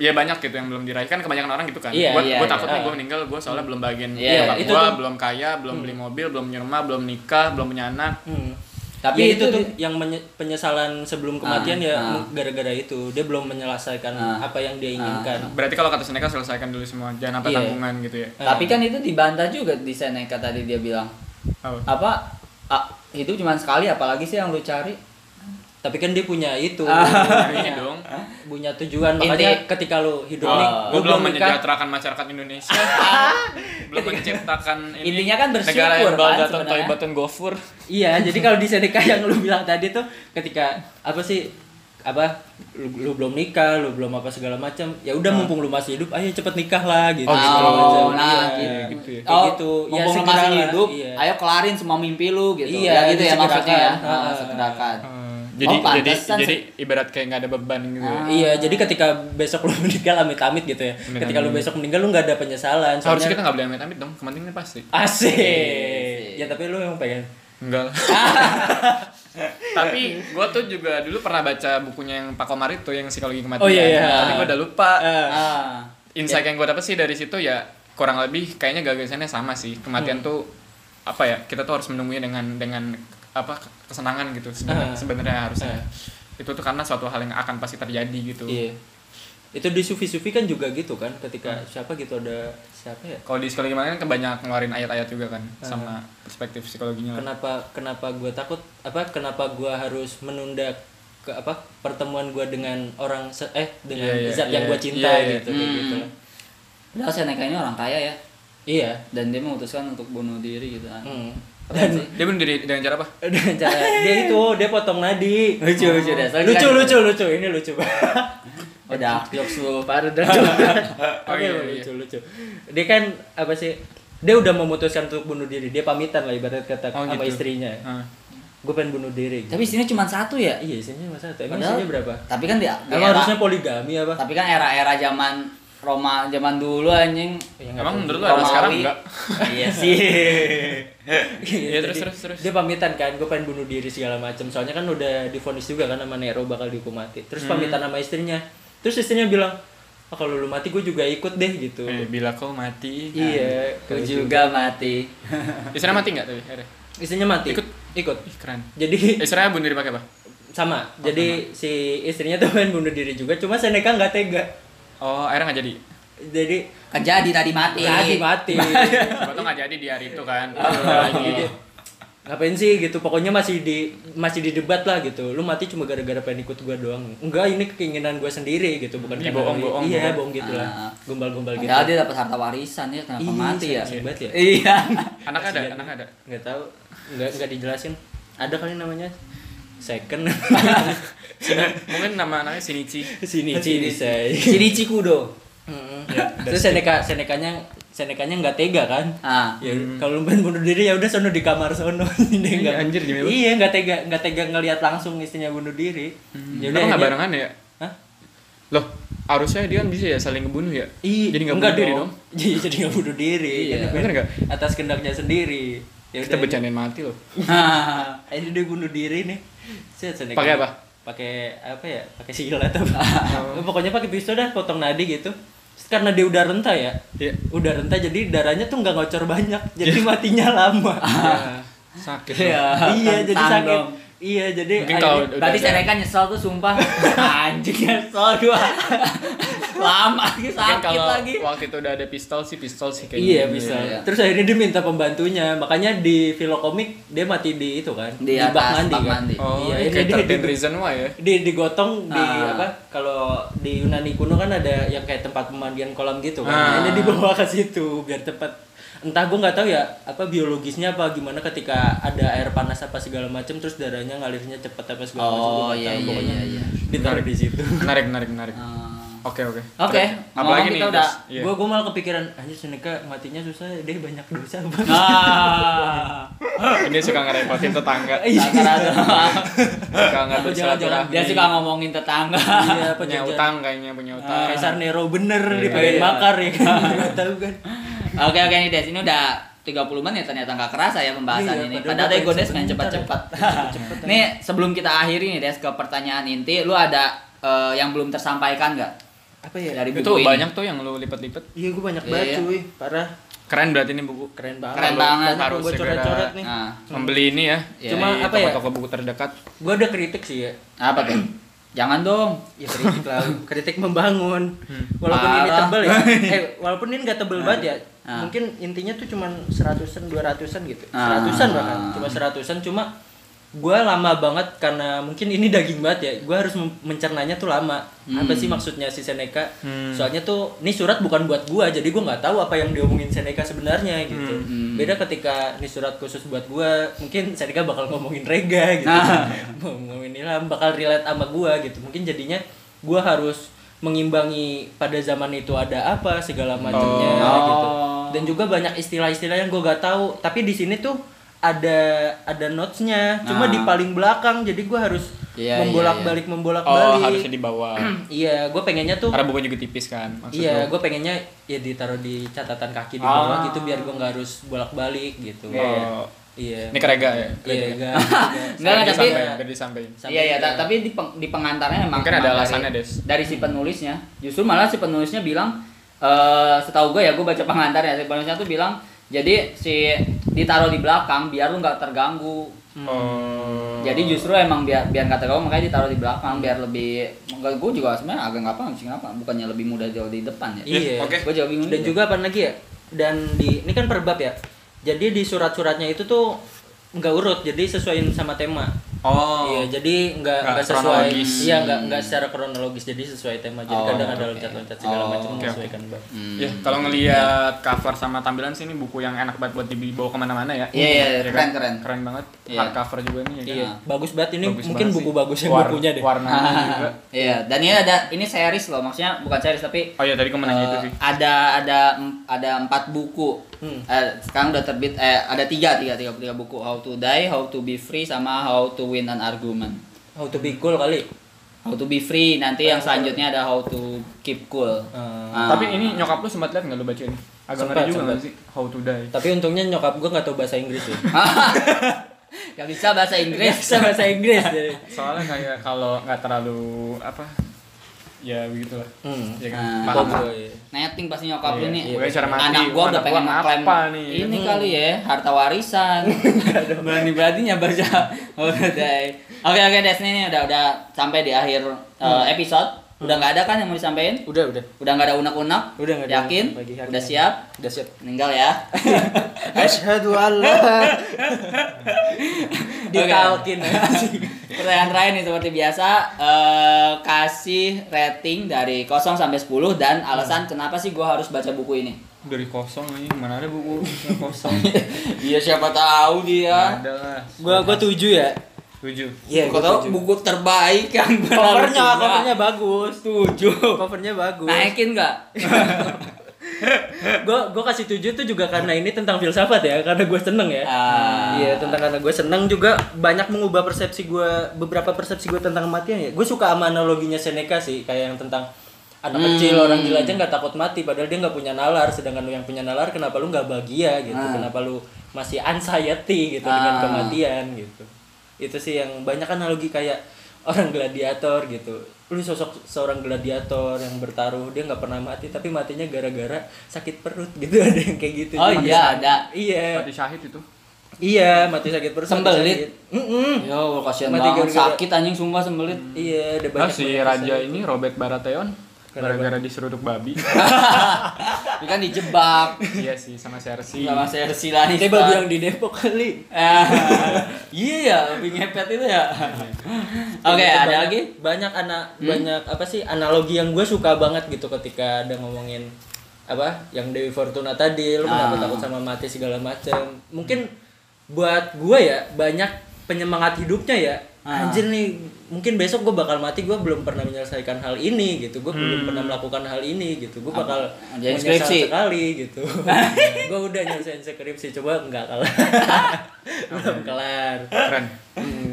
[SPEAKER 3] Ya banyak gitu yang belum diraih kan kebanyakan orang gitu kan.
[SPEAKER 2] Iya,
[SPEAKER 3] gua,
[SPEAKER 1] iya,
[SPEAKER 3] gua takut
[SPEAKER 2] iya.
[SPEAKER 3] nih gua meninggal gua soalnya belum
[SPEAKER 1] Iya,
[SPEAKER 3] bagian
[SPEAKER 1] Hmm.
[SPEAKER 3] yeah,
[SPEAKER 2] itu
[SPEAKER 3] gua
[SPEAKER 2] tuh-
[SPEAKER 3] belum kaya, belum beli mobil, belum punya rumah, belum nikah, belum punya anak.
[SPEAKER 2] Hmm.
[SPEAKER 1] Tapi
[SPEAKER 2] Ya,
[SPEAKER 1] itu
[SPEAKER 2] itu, tuh
[SPEAKER 1] di-
[SPEAKER 2] yang menye- penyesalan sebelum kematian ya
[SPEAKER 1] ah.
[SPEAKER 2] mu- gara-gara itu dia belum menyelesaikan
[SPEAKER 1] Ah.
[SPEAKER 2] apa yang dia
[SPEAKER 1] Ah.
[SPEAKER 2] inginkan.
[SPEAKER 3] Berarti kalau kata Seneca selesaikan dulu semua, jangan sampai
[SPEAKER 2] Iya.
[SPEAKER 3] tanggungan gitu ya.
[SPEAKER 1] Tapi kan itu dibantah juga di Seneca tadi dia bilang. [LAUGHS]
[SPEAKER 3] Apa?
[SPEAKER 1] Apa ah, hidup cuman sekali apalagi sih yang lu cari?
[SPEAKER 2] Tapi kan dia punya itu.
[SPEAKER 1] Ah.
[SPEAKER 3] Ini dong.
[SPEAKER 2] punya tujuan makanya
[SPEAKER 1] Inti-
[SPEAKER 2] ketika lu hidup
[SPEAKER 1] Ah.
[SPEAKER 2] nih
[SPEAKER 3] Gua
[SPEAKER 2] lu
[SPEAKER 3] belum
[SPEAKER 2] nikah,
[SPEAKER 3] menyejahterakan masyarakat Indonesia.
[SPEAKER 1] [LAUGHS]
[SPEAKER 3] belum menciptakan ini.
[SPEAKER 1] Intinya kan
[SPEAKER 3] negara yang
[SPEAKER 1] bersyukur kan
[SPEAKER 3] baldatun
[SPEAKER 1] sebenarnya.
[SPEAKER 3] toibatun gofur.
[SPEAKER 2] Iya, jadi kalau di Seneca yang lu bilang tadi tuh ketika apa sih apa lu, lu belum nikah, lu belum apa segala macam. Ya udah mumpung lu masih hidup, ayo cepet nikah lah gitu.
[SPEAKER 3] Oh, gitu.
[SPEAKER 2] Segala
[SPEAKER 1] Ah.
[SPEAKER 2] macam.
[SPEAKER 1] Oh, nah
[SPEAKER 2] Iya.
[SPEAKER 1] gitu.
[SPEAKER 3] gitu ya.
[SPEAKER 1] Oh,
[SPEAKER 2] Kayak gitu. Ya,
[SPEAKER 1] mumpung lu
[SPEAKER 2] segeralah.
[SPEAKER 1] masih hidup,
[SPEAKER 2] Iya.
[SPEAKER 1] ayo kelarin semua mimpi lu gitu.
[SPEAKER 2] Iya,
[SPEAKER 1] ya gitu ya
[SPEAKER 2] disegerakan.
[SPEAKER 1] maksudnya ya.
[SPEAKER 2] Ah.
[SPEAKER 1] Nah, segerakan.
[SPEAKER 3] Eh, jadi
[SPEAKER 1] Oh,
[SPEAKER 3] jadi
[SPEAKER 1] pantesan Ah,
[SPEAKER 3] jadi ibarat kayak nggak ada beban gitu. ya.
[SPEAKER 2] Iya, jadi ketika besok lu [LAUGHS] meninggal amit-amit gitu ya. Ketika lu besok meninggal lu nggak ada penyesalan.
[SPEAKER 1] iya,
[SPEAKER 2] Soalnya
[SPEAKER 3] Harusnya kita nggak boleh amit-amit dong, kematiannya pasti.
[SPEAKER 2] asik. Ya tapi lu emang pengen. [LAUGHS]
[SPEAKER 3] Enggak lah. Tapi gue tuh juga dulu pernah baca bukunya yang Pak Komar itu yang psikologi kematian.
[SPEAKER 2] Oh, iya, iya.
[SPEAKER 3] Tapi gue udah lupa.
[SPEAKER 2] Eh, iya.
[SPEAKER 1] Ah.
[SPEAKER 3] Insight yang gue dapet sih dari situ ya kurang lebih kayaknya gagasannya sama sih. Kematian
[SPEAKER 2] Hmm.
[SPEAKER 3] tuh apa ya? Kita tuh harus menunggunya dengan dengan apa kesenangan gitu sebenarnya
[SPEAKER 2] Ah.
[SPEAKER 3] sebenarnya harusnya.
[SPEAKER 1] Eh.
[SPEAKER 3] Itu tuh karena suatu hal yang akan pasti terjadi gitu.
[SPEAKER 2] Iya. Itu di sufi-sufi kan juga gitu kan
[SPEAKER 3] Hmm.
[SPEAKER 2] ketika siapa gitu ada siapa ya?
[SPEAKER 3] Kalau di psikologi kematian kan banyak ngeluarin ayat-ayat juga kan
[SPEAKER 2] Eh.
[SPEAKER 3] sama perspektif psikologinya. lah.
[SPEAKER 2] kenapa kenapa gue takut apa kenapa gue harus menunda ke apa pertemuan gue dengan orang se- eh dengan
[SPEAKER 3] Iya, iya,
[SPEAKER 2] zat yang
[SPEAKER 3] iya,
[SPEAKER 2] gue cinta
[SPEAKER 3] iya, iya.
[SPEAKER 2] gitu kayak gitu lah.
[SPEAKER 1] Padahal Seneca ini orang kaya ya
[SPEAKER 2] iya
[SPEAKER 1] dan dia memutuskan untuk bunuh diri gitu kan.
[SPEAKER 2] hmm. [LAUGHS]
[SPEAKER 1] Keren sih.
[SPEAKER 3] Dia bunuh diri dengan cara apa?
[SPEAKER 2] dengan cara dia itu oh, dia potong nadi Oh.
[SPEAKER 1] Lucu, lucu, Des. Lagi
[SPEAKER 2] lucu
[SPEAKER 1] kan?
[SPEAKER 2] lucu lucu ini
[SPEAKER 3] [LAUGHS]
[SPEAKER 2] lucu [LAUGHS]
[SPEAKER 1] Udah jokes lu.
[SPEAKER 2] parah dah oke
[SPEAKER 3] [LAUGHS] Oh, iya, iya.
[SPEAKER 2] lucu lucu dia kan apa sih dia udah memutuskan untuk bunuh diri dia pamitan lah ibarat kata
[SPEAKER 3] Oh,
[SPEAKER 2] sama
[SPEAKER 3] gitu.
[SPEAKER 2] istrinya
[SPEAKER 3] Ah.
[SPEAKER 2] gue pengen bunuh diri
[SPEAKER 1] Tapi isinya cuma satu ya.
[SPEAKER 2] iya isinya cuma satu emang
[SPEAKER 1] Padahal-
[SPEAKER 2] isinya berapa
[SPEAKER 1] Tapi kan di, di
[SPEAKER 2] Emang
[SPEAKER 1] era,
[SPEAKER 2] Ya, harusnya poligami apa
[SPEAKER 1] tapi kan era-era zaman Roma zaman dulu anjing.
[SPEAKER 2] Iya,
[SPEAKER 3] Emang menurut lu ada sekarang
[SPEAKER 1] Romawi.
[SPEAKER 3] enggak?
[SPEAKER 1] Iya sih.
[SPEAKER 2] Jadi,
[SPEAKER 3] Iya, terus, terus, terus.
[SPEAKER 2] Dia pamitan kan, gue pengen bunuh diri segala macam. Soalnya kan udah difonis juga kan sama Nero bakal dihukum mati. Terus pamitan sama istrinya. Terus istrinya bilang, "Ah, kalau lu mati gue juga ikut deh gitu.
[SPEAKER 3] Eh, bila kau mati.
[SPEAKER 2] Iya,
[SPEAKER 1] Aku juga mati.
[SPEAKER 3] Istrinya mati enggak tadi? Akhirnya?
[SPEAKER 2] istrinya mati.
[SPEAKER 3] Ikut.
[SPEAKER 2] ikut.
[SPEAKER 3] Ih, keren.
[SPEAKER 2] Jadi
[SPEAKER 3] Istrinya bunuh diri pakai
[SPEAKER 2] Oh,
[SPEAKER 3] apa?
[SPEAKER 2] sama. Jadi si istrinya tuh pengen bunuh diri juga, cuma Seneca nggak tega.
[SPEAKER 3] Oh, akhirnya nggak jadi.
[SPEAKER 2] Jadi
[SPEAKER 1] Kejadi tadi mati.
[SPEAKER 2] lagi mati. [LAUGHS]
[SPEAKER 3] Siapa tau nggak jadi di hari itu kan.
[SPEAKER 2] Oh, iya,
[SPEAKER 3] Udah lagi.
[SPEAKER 2] Ngapain sih gitu? Pokoknya masih di masih didebat lah gitu. Lu mati cuma gara-gara pengen ikut gua doang. Enggak, ini keinginan gua sendiri gitu, bukan
[SPEAKER 3] Ini
[SPEAKER 2] karena
[SPEAKER 3] bohong,
[SPEAKER 2] lu-
[SPEAKER 3] bohong,
[SPEAKER 2] Iya,
[SPEAKER 3] bohong.
[SPEAKER 2] bohong gitu lah.
[SPEAKER 1] Ah.
[SPEAKER 2] Gombal-gombal gitu.
[SPEAKER 1] Padahal dia dapat harta warisan ya kenapa
[SPEAKER 2] Ih,
[SPEAKER 1] mati ya?
[SPEAKER 2] sayang banget ya.
[SPEAKER 1] Iya. [LAUGHS]
[SPEAKER 3] Anak ada, anak ada.
[SPEAKER 2] Enggak tahu. Enggak enggak dijelasin. Ada kali namanya [LAUGHS] second
[SPEAKER 3] Sini- mungkin nama anaknya Shinichi.
[SPEAKER 2] sini sini saya.
[SPEAKER 1] Jadi Cikudo.
[SPEAKER 2] Terus Seneca Senekanya Senekanya nggak tega kan?
[SPEAKER 1] Ah.
[SPEAKER 2] ya kalau lu pengen bunuh diri ya udah sono di kamar sono [LAUGHS] ini nggak
[SPEAKER 3] anjir, gimana?
[SPEAKER 2] iya nggak tega nggak tega ngelihat langsung istrinya bunuh diri ya
[SPEAKER 3] Kenapa nggak
[SPEAKER 2] akhirnya-
[SPEAKER 3] barengan ya?
[SPEAKER 2] Hah?
[SPEAKER 3] Loh, harusnya dia kan bisa ya saling ngebunuh ya?
[SPEAKER 2] Ih,
[SPEAKER 3] Jadi nggak
[SPEAKER 2] enggak
[SPEAKER 3] bunuh diri dong.
[SPEAKER 2] Iya, [LAUGHS] jadi nggak bunuh diri
[SPEAKER 1] Iya.
[SPEAKER 2] Jadi
[SPEAKER 3] Bener nggak?
[SPEAKER 2] atas kendaknya sendiri ya
[SPEAKER 3] Kita
[SPEAKER 2] udah,
[SPEAKER 3] bercandain mati loh.
[SPEAKER 1] Hahaha.
[SPEAKER 2] ini dia bunuh diri nih Set, Seneca.
[SPEAKER 3] Pakai apa?
[SPEAKER 2] pakai apa ya pakai silat
[SPEAKER 3] [LAUGHS]
[SPEAKER 2] apa Ya, pokoknya pakai pisau dah potong nadi gitu Terus karena dia udah renta ya
[SPEAKER 3] Iya.
[SPEAKER 2] udah renta jadi darahnya tuh nggak ngocor banyak
[SPEAKER 3] [LAUGHS]
[SPEAKER 2] jadi matinya lama
[SPEAKER 3] Sakit.
[SPEAKER 1] Iya. [LAUGHS]
[SPEAKER 2] Ah.
[SPEAKER 3] loh.
[SPEAKER 2] iya jadi
[SPEAKER 1] Tentang
[SPEAKER 2] sakit
[SPEAKER 1] dong.
[SPEAKER 2] iya jadi
[SPEAKER 3] Mungkin
[SPEAKER 2] akhirnya-
[SPEAKER 3] kalau udah
[SPEAKER 1] Berarti
[SPEAKER 3] ada-
[SPEAKER 1] Seneca nyesel tuh sumpah. [LAUGHS] Anjing nyesel gua. Lama lagi
[SPEAKER 3] Mungkin
[SPEAKER 1] sakit
[SPEAKER 3] kalau
[SPEAKER 1] lagi.
[SPEAKER 3] waktu itu udah ada pistol sih, pistol sih kayaknya.
[SPEAKER 2] Iya bisa.
[SPEAKER 1] iya.
[SPEAKER 2] Terus akhirnya dia minta pembantunya. Makanya di filokomik dia mati di itu kan,
[SPEAKER 1] Di atas
[SPEAKER 2] bak
[SPEAKER 1] bak
[SPEAKER 2] kan?
[SPEAKER 1] mandi.
[SPEAKER 3] Oh,
[SPEAKER 2] iya,
[SPEAKER 3] ini
[SPEAKER 2] ini
[SPEAKER 3] kayak
[SPEAKER 2] dia-
[SPEAKER 3] 13
[SPEAKER 2] dia-
[SPEAKER 3] Reason Why
[SPEAKER 2] [LAUGHS]
[SPEAKER 3] ya?
[SPEAKER 2] Di digotong di
[SPEAKER 1] Ah.
[SPEAKER 2] apa? Kalau di Yunani kuno kan ada yang kayak tempat pemandian kolam gitu kan.
[SPEAKER 3] Ah.
[SPEAKER 2] Nah, Ini dibawa ke situ biar tepat. Entah gue nggak tahu ya apa biologisnya apa gimana ketika ada air panas apa segala macam terus darahnya ngalirnya cepat apa segala
[SPEAKER 1] Oh
[SPEAKER 2] macam. Gua nggak
[SPEAKER 1] iya
[SPEAKER 2] tahu.
[SPEAKER 1] iya
[SPEAKER 2] Pokoknya
[SPEAKER 1] iya iya.
[SPEAKER 2] Ditaruh di situ.
[SPEAKER 3] Menarik, menarik, menarik.
[SPEAKER 1] Eh,
[SPEAKER 2] Ah.
[SPEAKER 3] Oke, oke.
[SPEAKER 1] Oke,
[SPEAKER 3] Terus, Apalagi
[SPEAKER 1] ngomong
[SPEAKER 3] nih?
[SPEAKER 1] kita udah-
[SPEAKER 3] Terus, iya.
[SPEAKER 2] Gue gue malah kepikiran anjir Seneca matinya susah ya, dia banyak dosa
[SPEAKER 3] [LAUGHS]
[SPEAKER 2] banget.
[SPEAKER 3] Nah,
[SPEAKER 1] Ah.
[SPEAKER 3] Ini suka ngerepotin tetangga.
[SPEAKER 2] Iya.
[SPEAKER 3] [LAUGHS]
[SPEAKER 1] Rata-rata.
[SPEAKER 3] Suka ngerti
[SPEAKER 2] Jangan-jangan
[SPEAKER 3] silaturahmi.
[SPEAKER 1] Dia suka ngomongin tetangga. [LAUGHS]
[SPEAKER 2] Iya, apa
[SPEAKER 3] punya
[SPEAKER 2] jangan-
[SPEAKER 3] utang kayaknya punya utang.
[SPEAKER 2] Kaisar Nero bener
[SPEAKER 3] Iya.
[SPEAKER 2] dipengen
[SPEAKER 1] Iya.
[SPEAKER 2] makar ya
[SPEAKER 3] [LAUGHS]
[SPEAKER 2] kan. Gak tahu kan.
[SPEAKER 1] Oke oke nih Des, ini udah 30 menit ternyata nggak kerasa ya pembahasan
[SPEAKER 2] Iya,
[SPEAKER 1] ini.
[SPEAKER 2] padahal
[SPEAKER 1] Padahal tadi
[SPEAKER 2] pengen
[SPEAKER 1] gue Des pengen
[SPEAKER 2] sebentar ya.
[SPEAKER 1] cepat-cepat. [LAUGHS] nih sebelum kita akhiri nih Des ke pertanyaan inti, lu ada eh, yang belum tersampaikan nggak
[SPEAKER 2] Apa ya?
[SPEAKER 1] dari buku
[SPEAKER 3] Itu
[SPEAKER 1] ini?
[SPEAKER 3] banyak tuh yang lu lipat-lipat.
[SPEAKER 2] Iya gue banyak
[SPEAKER 1] Iya,
[SPEAKER 2] banget
[SPEAKER 1] iya.
[SPEAKER 2] cuy. Parah.
[SPEAKER 3] Keren berarti ini buku.
[SPEAKER 2] Keren banget.
[SPEAKER 1] Keren banget.
[SPEAKER 2] Banyak
[SPEAKER 3] Harus
[SPEAKER 2] gue
[SPEAKER 3] segera.
[SPEAKER 2] coret-coret nih.
[SPEAKER 1] Nah,
[SPEAKER 3] Membeli ini ya.
[SPEAKER 1] Iya,
[SPEAKER 3] Cuma
[SPEAKER 2] iya.
[SPEAKER 3] apa ya? Toko buku terdekat.
[SPEAKER 2] Gue udah kritik sih ya.
[SPEAKER 1] apa tuh? Jangan dong.
[SPEAKER 2] Ya kritik
[SPEAKER 3] [LAUGHS]
[SPEAKER 2] lah. kritik membangun.
[SPEAKER 3] Hmm.
[SPEAKER 2] Walaupun ini
[SPEAKER 1] Parah. [LAUGHS]
[SPEAKER 2] tebel ya. Eh, walaupun ini gak tebel banget ya.
[SPEAKER 1] Ah.
[SPEAKER 2] Mungkin intinya tuh cuman seratusan, dua ratusan gitu.
[SPEAKER 1] Ah.
[SPEAKER 2] Seratusan bahkan. Cuma seratusan. Cuma gue lama banget karena mungkin ini daging banget ya gue harus mem- mencernanya tuh lama apa
[SPEAKER 1] Hmm.
[SPEAKER 2] sih maksudnya si Seneca soalnya tuh ini surat bukan buat gue jadi gue nggak tahu apa yang diomongin Seneca sebenarnya gitu
[SPEAKER 1] Hmm.
[SPEAKER 2] beda ketika ini surat khusus buat gue mungkin Seneca bakal ngomongin Rega gitu
[SPEAKER 1] Nah.
[SPEAKER 2] mau [LAUGHS] ngomongin Ilham bakal relate sama gue gitu mungkin jadinya gue harus mengimbangi pada zaman itu ada apa segala macamnya
[SPEAKER 1] Oh.
[SPEAKER 2] gitu dan juga banyak istilah-istilah yang gue gak tahu tapi di sini tuh ada ada notesnya cuma
[SPEAKER 1] Nah.
[SPEAKER 2] di paling belakang jadi gue harus
[SPEAKER 1] Iya, iya,
[SPEAKER 2] membolak-balik membolak
[SPEAKER 3] Oh,
[SPEAKER 2] balik
[SPEAKER 3] harusnya di bawah.
[SPEAKER 2] iya gue pengennya tuh
[SPEAKER 3] Karena bukunya juga tipis kan. Maksud
[SPEAKER 2] iya
[SPEAKER 3] lu.
[SPEAKER 2] gue pengennya ya ditaruh di catatan kaki di
[SPEAKER 1] Ah.
[SPEAKER 2] bawah gitu biar gue nggak harus bolak-balik gitu
[SPEAKER 3] Oh.
[SPEAKER 2] iya
[SPEAKER 3] Ini kerega ya.
[SPEAKER 2] iya enggak
[SPEAKER 1] Enggak, enggak, tapi-
[SPEAKER 3] Biar disampaikan.
[SPEAKER 1] Iya iya, ta- tapi di, peng- di pengantarnya memang
[SPEAKER 3] Mungkin ada
[SPEAKER 1] memang
[SPEAKER 3] alasannya,
[SPEAKER 1] dari,
[SPEAKER 3] Des.
[SPEAKER 1] dari si penulisnya. Justru malah si penulisnya bilang eh setahu gue ya, gue baca pengantar ya, si penulisnya tuh bilang jadi si ditaruh di belakang biar lu nggak terganggu.
[SPEAKER 3] Hmm. Oh.
[SPEAKER 1] Jadi justru emang biar biar nggak terganggu makanya ditaruh di belakang biar lebih enggak gue juga sebenarnya agak nggak paham sih kenapa bukannya lebih mudah jauh di depan ya.
[SPEAKER 2] Iya.
[SPEAKER 3] Oke.
[SPEAKER 1] Gue juga bingung.
[SPEAKER 2] dan juga apa lagi ya dan di ini kan per bab ya jadi di surat-suratnya itu tuh nggak urut jadi sesuaiin sama tema
[SPEAKER 3] Oh.
[SPEAKER 2] Iya, jadi nggak
[SPEAKER 3] Nggak
[SPEAKER 2] nggak sesuai,
[SPEAKER 3] kronologis.
[SPEAKER 2] iya nggak nggak secara kronologis, jadi sesuai tema. Jadi
[SPEAKER 1] Oh,
[SPEAKER 2] kadang ada
[SPEAKER 1] oke.
[SPEAKER 2] loncat-loncat segala
[SPEAKER 1] Oh,
[SPEAKER 2] macam
[SPEAKER 1] oke,
[SPEAKER 2] menyesuaikan bab.
[SPEAKER 3] Ya, kalau ngelihat cover sama tampilan sih ini buku yang enak banget buat dibawa kemana-mana ya.
[SPEAKER 1] Iya, iya,
[SPEAKER 3] kan?
[SPEAKER 1] keren, keren.
[SPEAKER 3] Keren banget.
[SPEAKER 1] Iya.
[SPEAKER 3] Hardcover juga nih. ya kan?
[SPEAKER 2] Iya, bagus banget ini
[SPEAKER 3] Bagus
[SPEAKER 2] mungkin
[SPEAKER 3] banget
[SPEAKER 2] buku
[SPEAKER 3] sih.
[SPEAKER 2] bagusnya
[SPEAKER 3] War-
[SPEAKER 2] bukunya deh.
[SPEAKER 3] Warnanya juga.
[SPEAKER 1] Iya, dan ini ada ini series loh, maksudnya bukan series tapi
[SPEAKER 3] Oh iya tadi kamu nanya itu
[SPEAKER 1] Eh,
[SPEAKER 3] sih.
[SPEAKER 1] ada ada ada empat buku
[SPEAKER 2] Hmm.
[SPEAKER 1] Eh, sekarang udah terbit eh ada tiga tiga tiga tiga buku How to Die How to Be Free sama How to Win an Argument
[SPEAKER 2] How to be Oh, cool kali.
[SPEAKER 1] How to be free. Nanti yang selanjutnya ada how to keep cool.
[SPEAKER 2] Oh. Eh,
[SPEAKER 1] Ah.
[SPEAKER 3] Tapi
[SPEAKER 1] [LAUGHS]
[SPEAKER 3] ini nyokap lu sempat lihat nggak lu baca ini? Agak
[SPEAKER 2] Sempat,
[SPEAKER 3] ngeri juga
[SPEAKER 2] sempat.
[SPEAKER 3] nggak sih? How to die.
[SPEAKER 2] Tapi untungnya nyokap gue nggak tahu bahasa Inggris ya.
[SPEAKER 1] Gak bisa bahasa Inggris.
[SPEAKER 2] Bisa bahasa Inggris. jadi.
[SPEAKER 3] Soalnya kayak kalau nggak terlalu apa ya begitulah.
[SPEAKER 2] Hmm.
[SPEAKER 3] Ya kan?
[SPEAKER 1] Nah,
[SPEAKER 3] Paham.
[SPEAKER 2] Bobo, iya.
[SPEAKER 1] Netting pasti nyokap lu
[SPEAKER 3] Iya,
[SPEAKER 1] nih.
[SPEAKER 3] iya, cara mati.
[SPEAKER 1] Anak gua udah
[SPEAKER 3] Anak
[SPEAKER 1] pengen
[SPEAKER 3] gua
[SPEAKER 1] ngeklaim
[SPEAKER 3] apa nih?
[SPEAKER 1] ini kali ya, harta warisan. [LAUGHS] Berani-beraninya baca. [LAUGHS] Udah. Oh, Oke oke Des nih nih, udah udah sampai di akhir uh, episode. Udah nggak ada kan yang mau disampaikan?
[SPEAKER 2] Udah udah.
[SPEAKER 1] Udah nggak ada unek-unek?
[SPEAKER 2] Udah nggak ada
[SPEAKER 1] Yakin?
[SPEAKER 2] unek-unek lagi hari
[SPEAKER 1] Udah
[SPEAKER 2] ini.
[SPEAKER 1] siap?
[SPEAKER 2] Udah siap.
[SPEAKER 1] Meninggal ya.
[SPEAKER 2] Asyhadu Allah. Dikalkin.
[SPEAKER 1] [LAUGHS] Pertanyaan terakhir nih seperti biasa, eh, kasih rating dari 0 sampai 10 dan alasan kenapa sih gua harus baca buku ini.
[SPEAKER 3] Dari kosong ini mana ada buku yang
[SPEAKER 2] [LAUGHS]
[SPEAKER 3] kosong?
[SPEAKER 1] Iya siapa tahu
[SPEAKER 3] Nggak
[SPEAKER 1] dia.
[SPEAKER 3] ada lah.
[SPEAKER 2] Ya. Gua gua tujuh ya.
[SPEAKER 3] Tujuh.
[SPEAKER 2] Iya,
[SPEAKER 1] Kau tahu buku terbaik yang pernah lu
[SPEAKER 2] covernya
[SPEAKER 1] punya.
[SPEAKER 2] covernya bagus tujuh covernya bagus
[SPEAKER 1] naikin nggak?
[SPEAKER 2] gue gue kasih tujuh tuh juga karena ini tentang filsafat ya karena gue seneng ya
[SPEAKER 1] Ah.
[SPEAKER 2] iya tentang karena gue seneng juga banyak mengubah persepsi gue beberapa persepsi gue tentang kematian ya gue suka sama analoginya Seneca sih kayak yang tentang anak
[SPEAKER 1] Hmm.
[SPEAKER 2] kecil orang gila aja nggak takut mati padahal dia nggak punya nalar sedangkan lu yang punya nalar kenapa lu nggak bahagia gitu kenapa lu masih anxiety gitu
[SPEAKER 1] Ah.
[SPEAKER 2] dengan kematian gitu itu sih yang banyak analogi kayak orang gladiator gitu lu sosok seorang gladiator yang bertaruh dia nggak pernah mati tapi matinya gara-gara sakit perut gitu [LAUGHS] ada yang kayak gitu
[SPEAKER 1] Oh
[SPEAKER 2] Jadi
[SPEAKER 1] iya
[SPEAKER 2] sakit.
[SPEAKER 1] ada.
[SPEAKER 2] iya
[SPEAKER 3] Mati syahid itu.
[SPEAKER 2] iya mati sakit perut mati
[SPEAKER 1] Sembelit.
[SPEAKER 2] sakit. Mm-mm.
[SPEAKER 1] Ya Allah kasihan
[SPEAKER 2] Mati
[SPEAKER 1] banget
[SPEAKER 2] gara-gara-
[SPEAKER 1] sakit anjing sumpah sembelit.
[SPEAKER 2] iya ada
[SPEAKER 3] Nah,
[SPEAKER 2] banyak
[SPEAKER 3] si
[SPEAKER 2] banget
[SPEAKER 3] raja
[SPEAKER 2] kisah.
[SPEAKER 3] ini Robert Baratheon gara-gara diseruduk
[SPEAKER 2] [LAUGHS]
[SPEAKER 3] babi.
[SPEAKER 1] Dia kan dijebak
[SPEAKER 3] iya sih sama Cersei.
[SPEAKER 2] Iya
[SPEAKER 1] sama Cersei lah.
[SPEAKER 2] Ini babi
[SPEAKER 1] [LAUGHS]
[SPEAKER 2] yang di Depok kali
[SPEAKER 1] Iya ya, [LAUGHS] lebih ngepet itu ya. Oke,
[SPEAKER 2] Itu
[SPEAKER 1] ada
[SPEAKER 2] gitu banyak-
[SPEAKER 1] lagi? Hmm?
[SPEAKER 2] banyak anak banyak apa sih analogi yang gue suka banget gitu ketika ada ngomongin apa yang Dewi Fortuna tadi lu
[SPEAKER 1] Ah.
[SPEAKER 2] kenapa takut sama mati segala macem mungkin buat gue ya banyak penyemangat hidupnya ya
[SPEAKER 1] Ah.
[SPEAKER 2] anjir nih mungkin besok gue bakal mati gue belum pernah menyelesaikan hal ini gitu gue belum pernah melakukan hal ini gitu gue bakal
[SPEAKER 1] Hmm. Apa? Jadi
[SPEAKER 2] menyesal
[SPEAKER 1] skripsi?
[SPEAKER 2] sekali
[SPEAKER 1] [LAUGHS]
[SPEAKER 2] gitu gue udah nyelesain skripsi coba nggak kalah belum kelar
[SPEAKER 3] Keren.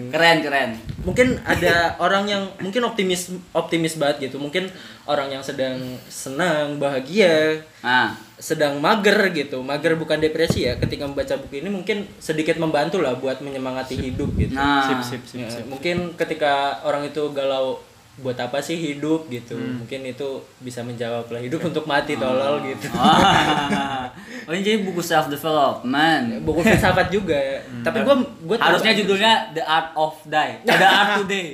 [SPEAKER 1] Keren, keren.
[SPEAKER 2] mungkin ada orang yang mungkin optimis optimis banget gitu mungkin orang yang sedang senang bahagia
[SPEAKER 1] Nah,
[SPEAKER 2] sedang mager gitu mager bukan depresi ya ketika membaca buku ini mungkin sedikit membantu lah buat menyemangati hidup gitu
[SPEAKER 1] nah.
[SPEAKER 3] Sip sip sip.
[SPEAKER 2] Ya,
[SPEAKER 3] sip.
[SPEAKER 2] mungkin ketika orang itu galau buat apa sih hidup gitu
[SPEAKER 1] Hmm.
[SPEAKER 2] mungkin itu bisa menjawab lah
[SPEAKER 1] [LAUGHS]
[SPEAKER 2] hidup untuk mati
[SPEAKER 1] Ah.
[SPEAKER 2] tolol gitu
[SPEAKER 1] [LAUGHS] Wah. Oh, ini jadi buku self development.
[SPEAKER 2] buku filsafat juga ya. tapi gua gua
[SPEAKER 1] Hmm. Harusnya
[SPEAKER 2] [LAUGHS]
[SPEAKER 1] judulnya The Art of Die. The Art Today.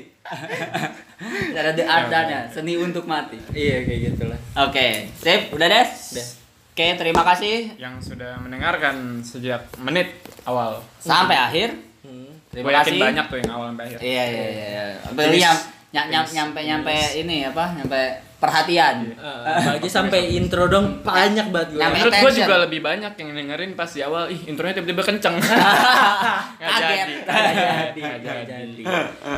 [SPEAKER 1] Ada The Art Dana, seni untuk mati.
[SPEAKER 2] iya kayak
[SPEAKER 1] [LAUGHS]
[SPEAKER 2] gitulah
[SPEAKER 1] Oke, sip, udah des.
[SPEAKER 2] Udah.
[SPEAKER 1] Oke, terima kasih
[SPEAKER 3] Yang sudah mendengarkan sejak menit awal.
[SPEAKER 1] sampai akhir.
[SPEAKER 2] Hmm.
[SPEAKER 1] Terima
[SPEAKER 3] Gua yakin
[SPEAKER 1] kasih.
[SPEAKER 3] banyak tuh yang awal sampai akhir.
[SPEAKER 1] Iya iya iya. iya. Beli yang nyam, nyam, nyampe nyampe ini apa? Nyampe perhatian.
[SPEAKER 2] Uh, apalagi sampai intro dong banyak banget gue
[SPEAKER 1] Namanya
[SPEAKER 3] Menurut gue
[SPEAKER 1] Attention.
[SPEAKER 3] juga lebih banyak yang dengerin pas di awal, ih intronya tiba-tiba [LAUGHS] kenceng. Nggak
[SPEAKER 1] [LAUGHS] Kaget.
[SPEAKER 3] Nggak
[SPEAKER 2] jadi,
[SPEAKER 3] Nggak
[SPEAKER 2] nggak
[SPEAKER 3] jadi.
[SPEAKER 2] jadi.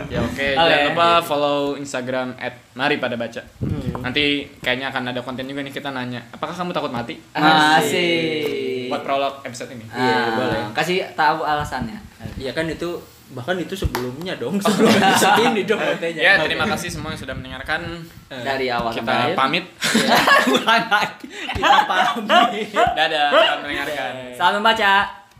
[SPEAKER 3] Ya oke,
[SPEAKER 1] Oke.
[SPEAKER 3] jangan lupa follow Instagram at Mari Pada Baca. Nanti kayaknya akan ada konten juga nih kita nanya, apakah kamu takut mati?
[SPEAKER 1] Masih.
[SPEAKER 3] Buat prolog episode ini.
[SPEAKER 1] Ah,
[SPEAKER 2] Iya, boleh.
[SPEAKER 1] Kasih tahu alasannya.
[SPEAKER 2] Ya kan itu bahkan itu sebelumnya dong, sebelum episode ini dong katanya.
[SPEAKER 3] Ya, terima kasih semua yang sudah mendengarkan.
[SPEAKER 1] Dari awal sampai
[SPEAKER 3] Kita
[SPEAKER 1] akhir.
[SPEAKER 3] pamit.
[SPEAKER 1] Ulang lagi. [LAUGHS]
[SPEAKER 2] Kita pamit.
[SPEAKER 3] [LAUGHS] Dadah, selamat mendengarkan.
[SPEAKER 1] Selamat membaca.